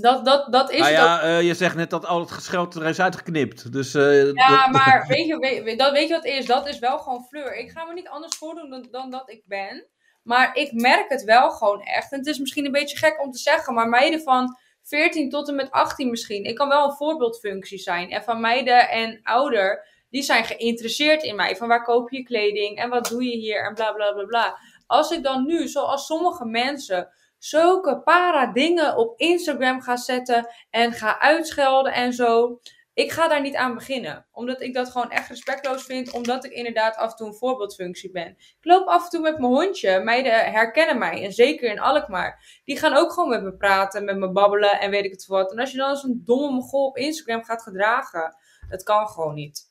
Dat, dat, dat is
nou
het ook
ja, eh, je zegt net dat al het gescheld er is uitgeknipt. Dus, eh,
Ja,
dat-
maar weet je, weet, weet- dat, weet je wat het is? Dat is wel gewoon fleur. Ik ga me niet anders voordoen dan, dan dat ik ben. Maar ik merk het wel gewoon echt. En het is misschien een beetje gek om te zeggen, maar meiden van 14 tot en met 18 misschien. Ik kan wel een voorbeeldfunctie zijn. En van meiden en ouder, die zijn geïnteresseerd in mij. Van waar koop je kleding en wat doe je hier en bla bla bla bla. Als ik dan nu, zoals sommige mensen, zulke para dingen op Instagram ga zetten en ga uitschelden en zo ik ga daar niet aan beginnen. Omdat ik dat gewoon echt respectloos vind. Omdat ik inderdaad af en toe een voorbeeldfunctie ben. Ik loop af en toe met mijn hondje. Meiden herkennen mij. En zeker in Alkmaar. Die gaan ook gewoon met me praten. Met me babbelen. En weet ik het wat. En als je dan als een domme mogol op Instagram gaat gedragen. Dat kan gewoon niet.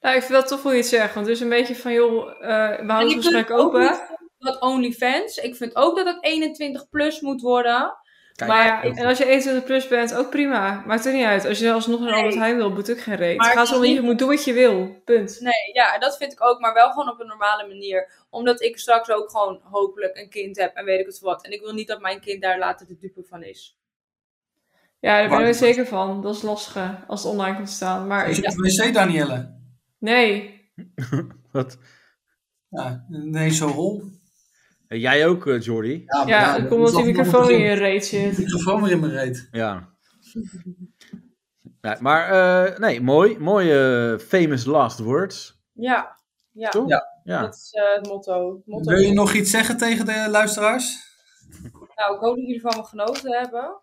Nou, ik vind dat toch wel iets zeggen. Want het is een beetje van, joh, eh, we
En
houden het
ik vind
gesprek
ook
open.
niet Dat OnlyFans. Ik vind ook dat het 21 plus moet worden.
Kijk,
Maar ja, en als je 21 plus bent, ook prima. Maakt er niet uit. Als je alsnog naar Albert Heijn wil, boet ook geen reet.
Maar
Het
het
gaat
is
erom, je
niet-
moet doen wat je wil. Punt.
Nee, ja, dat vind ik ook, maar wel gewoon op een normale manier. Omdat ik straks ook gewoon hopelijk een kind heb en weet ik het wat. En ik wil niet dat mijn kind daar later de dupe van is.
Ja, daar ben
Maar-
ik zeker van. Dat is lastig als het online komt te staan. Maar
Is
ik-
je op de wc, Danielle?
nee,
wat,
Ja, nee, zo hol.
Eh, jij ook, eh, Jordi?
Ja,
ja, dat komt omdat die microfoon in je reet
De
zit.
microfoon weer in mijn reet.
<laughs>
Ja. Ja, maar eh, nee, mooi. Mooie eh, famous last words.
Ja, ja.
Toch? Ja.
Dat is eh, het motto. Het motto
Wil je nog iets zeggen tegen de luisteraars?
Nou, ik hoop dat jullie van me genoten hebben.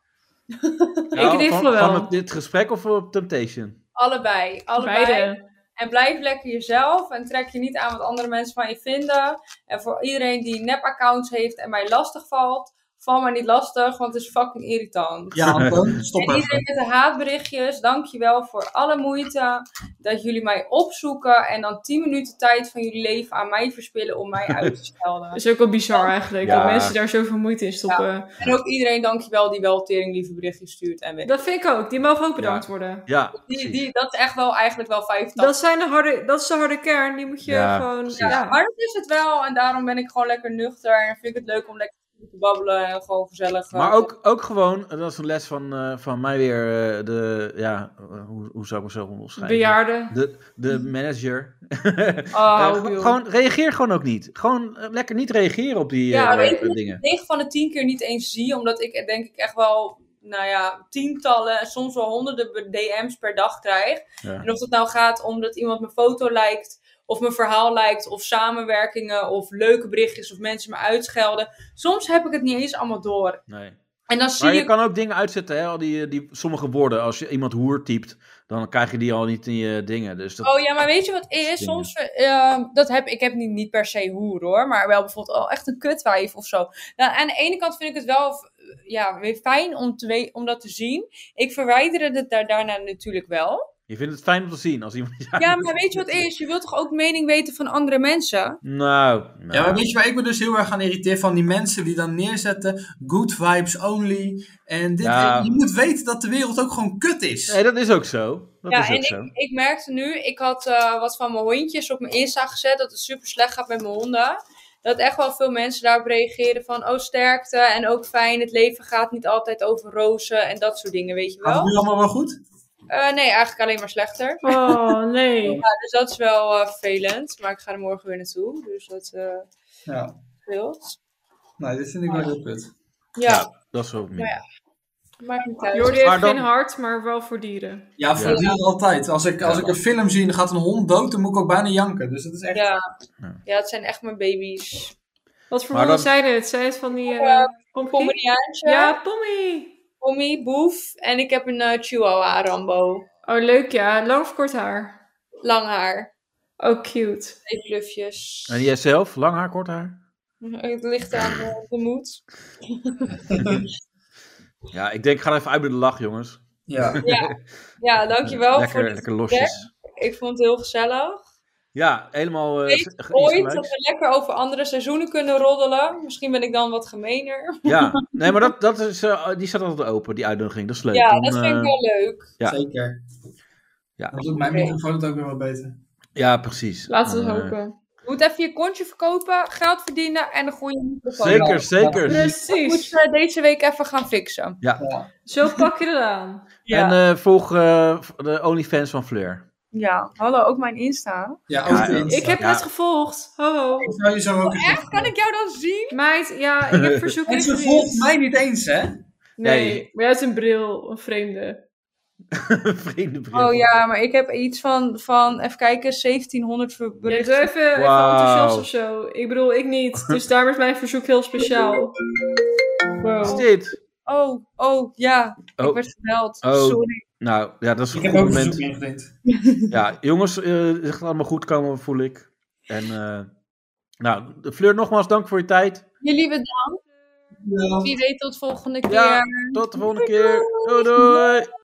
Nou,
in ieder
van-
geval wel.
Van het- dit gesprek of eh, op Temptation?
Allebei, allebei.
Beide.
En blijf lekker jezelf en trek je niet aan wat andere mensen van je vinden. En voor iedereen die nep-accounts heeft en mij lastig valt, val mij niet lastig, want het is fucking irritant.
Ja, Anton, stop
en
even.
iedereen met dus de haatberichtjes, dankjewel voor alle moeite dat jullie mij opzoeken en dan 10 minuten tijd van jullie leven aan mij verspillen om mij
<laughs>
uit te
Dat
schelden.
is ook wel bizar eigenlijk,
Ja.
dat mensen daar zoveel moeite in stoppen.
En ook iedereen dankjewel die wel tering lieve berichtjes stuurt en weet
Dat vind ik ook. Die mogen ook bedankt worden.
Ja.
die,
precies.
die, Dat is echt wel eigenlijk wel 85.
Dat, zijn de harde, dat is de harde kern. Die moet je
Ja,
gewoon...
precies.
Ja.
Ja, maar dat is het wel en daarom ben ik gewoon lekker nuchter en vind ik het leuk om lekker te babbelen en gewoon gezellig. eh,
Maar ook, ook gewoon, en dat is een les van, eh, van mij weer, eh, de, ja, eh, hoe, hoe zou ik mezelf omschrijven?
Bejaarden.
De, de manager.
Oh,
Eh,
joh.
gewoon, reageer gewoon ook niet. Gewoon eh, lekker niet reageren op die
Ja,
eh,
weet je-
dingen.
9 van de 10 keer niet eens zie, omdat ik denk ik echt wel, nou ja, tientallen en soms wel honderden be- DM's per dag krijg.
Ja.
En of dat nou gaat om dat iemand mijn foto lijkt, of mijn verhaal lijkt, of samenwerkingen, of leuke berichtjes, of mensen me uitschelden. Soms heb ik het niet eens allemaal door.
Nee.
En dan zie
Maar je
ik,
kan ook dingen uitzetten, hè? Al die, eh, die, sommige woorden. Als je iemand hoer typt, dan krijg je die al niet in je dingen. Dus dat,
oh ja, maar weet je wat is?
Dingen.
Soms, eh, dat heb ik heb niet, niet per se hoer hoor, maar wel bijvoorbeeld oh, echt een kutwijf of zo. Nou, aan de ene kant vind ik het wel eh, ja, weer fijn om, te we- om dat te zien. Ik verwijder het daar, daarna natuurlijk wel.
Je vindt het fijn om te zien als iemand... <laughs>
Ja, maar weet je wat het is? Je wilt toch ook mening weten van andere mensen?
Nou, nou.
Ja, maar weet je waar ik me dus heel erg aan irriteer? Van die mensen die dan neerzetten, good vibes only. En dit,
Ja.
je moet weten dat de wereld ook gewoon kut is.
Nee, dat is ook zo. Dat
Ja,
is ook
en
zo.
Ik merkte nu, ik had eh, wat van mijn hondjes op mijn Insta gezet, dat het super slecht gaat met mijn honden. Dat echt wel veel mensen daarop reageren van, oh sterkte en ook fijn, het leven gaat niet altijd over rozen en dat soort dingen, weet je
Gaat het
wel?
Ah, nu allemaal wel goed?
Eh, nee, eigenlijk alleen maar slechter.
Oh,
<laughs>
nee.
Ja, dus dat is wel eh, vervelend, maar ik ga er morgen weer naartoe, dus dat eh
Ja.
scheelt.
Nou, dit vind ik wel heel kut.
Ja,
Dat is ook niet.
Maar ja. maakt niet uit.
Jordi heeft
Maar dan-
geen hart, maar wel voor dieren.
Ja, voor
Ja.
dieren altijd. Als ik, als ik een film zie en er gaat een hond dood, dan moet ik ook bijna janken. Dus dat is echt...
Ja.
Ja.
ja, het zijn echt mijn baby's.
Wat voor
Maar
honden
dan-
zeiden het? Zij het van die... eh,
Eh,
Pomkie?
Pomeraniaantje.
Ja, Pommy.
Pommy, Boef en ik heb een eh, Chihuahua Rambo.
Oh, leuk ja. Lang of kort haar?
Lang haar,
Oh, cute.
twee blufjes.
En jij zelf? Lang haar, kort haar?
Mhm, Het ligt aan eh, de
<laughs>
moed.
Ja, ik denk, ik ga er even uit met de lach, jongens.
Ja.
Ja, dankjewel
lekker,
Oh, voor dit
lekker losjes.
gesprek. Ik vond het heel gezellig.
Ja, helemaal... eh,
Weet
ge- ge-
Ooit dat
ingelijks.
<laughs> we lekker over andere seizoenen kunnen roddelen. Misschien ben ik dan wat gemener.
Ja, nee, maar dat, dat is, eh, die staat altijd open, die uitnodiging. Dat is leuk.
ja,
Dan,
dat vind
eh,
ik wel leuk.
Ja.
Zeker.
Ja.
Dan doet mijn
Oké.
microfoon het ook weer wat beter.
ja, precies.
Laten we
Dan, eh,
hopen.
Je moet even je kontje verkopen, geld verdienen en een goede microfoon.
Zeker, zeker.
Dat
Precies.
moeten we deze week even gaan fixen.
Zo pak je het aan.
Ja,
En eh, volg eh, de OnlyFans van Fleur.
ja. hallo, ook mijn Insta.
Ja, ook
Ja,
de
ik-
Insta.
Ik heb
Ja.
net gevolgd. Ho, ho.
Ik zou je zo ook eens-
Echt? Kan ik jou dan zien?
Meid, ja, ik heb
<laughs>
verzoek
En ze
ingediend.
volgt mij niet eens, hè?
Nee,
Nee.
maar jij hebt een bril, een vreemde.
<laughs> Vreemde bril.
Oh ja, maar ik heb iets van, van even kijken, 1700 ver-
Ja,
berichten.
doe even, even
Wauw.
enthousiast of zo. Ik bedoel, ik niet. Dus daarom is mijn verzoek heel speciaal.
Wat is
Wow.
dit?
Oh, oh, ja. Ik
Oh,
werd gebeld.
Oh.
Sorry.
nou, ja, dat is een
Ik heb
goed
ook een verzoek
moment.
ingediend.
Ja, jongens, eh, het gaat allemaal goed komen, voel ik. En, eh, nou, Fleur, nogmaals dank voor je tijd.
Jullie bedankt.
Ja.
Wie weet tot volgende keer.
Ja, tot de volgende keer. Doei, doei.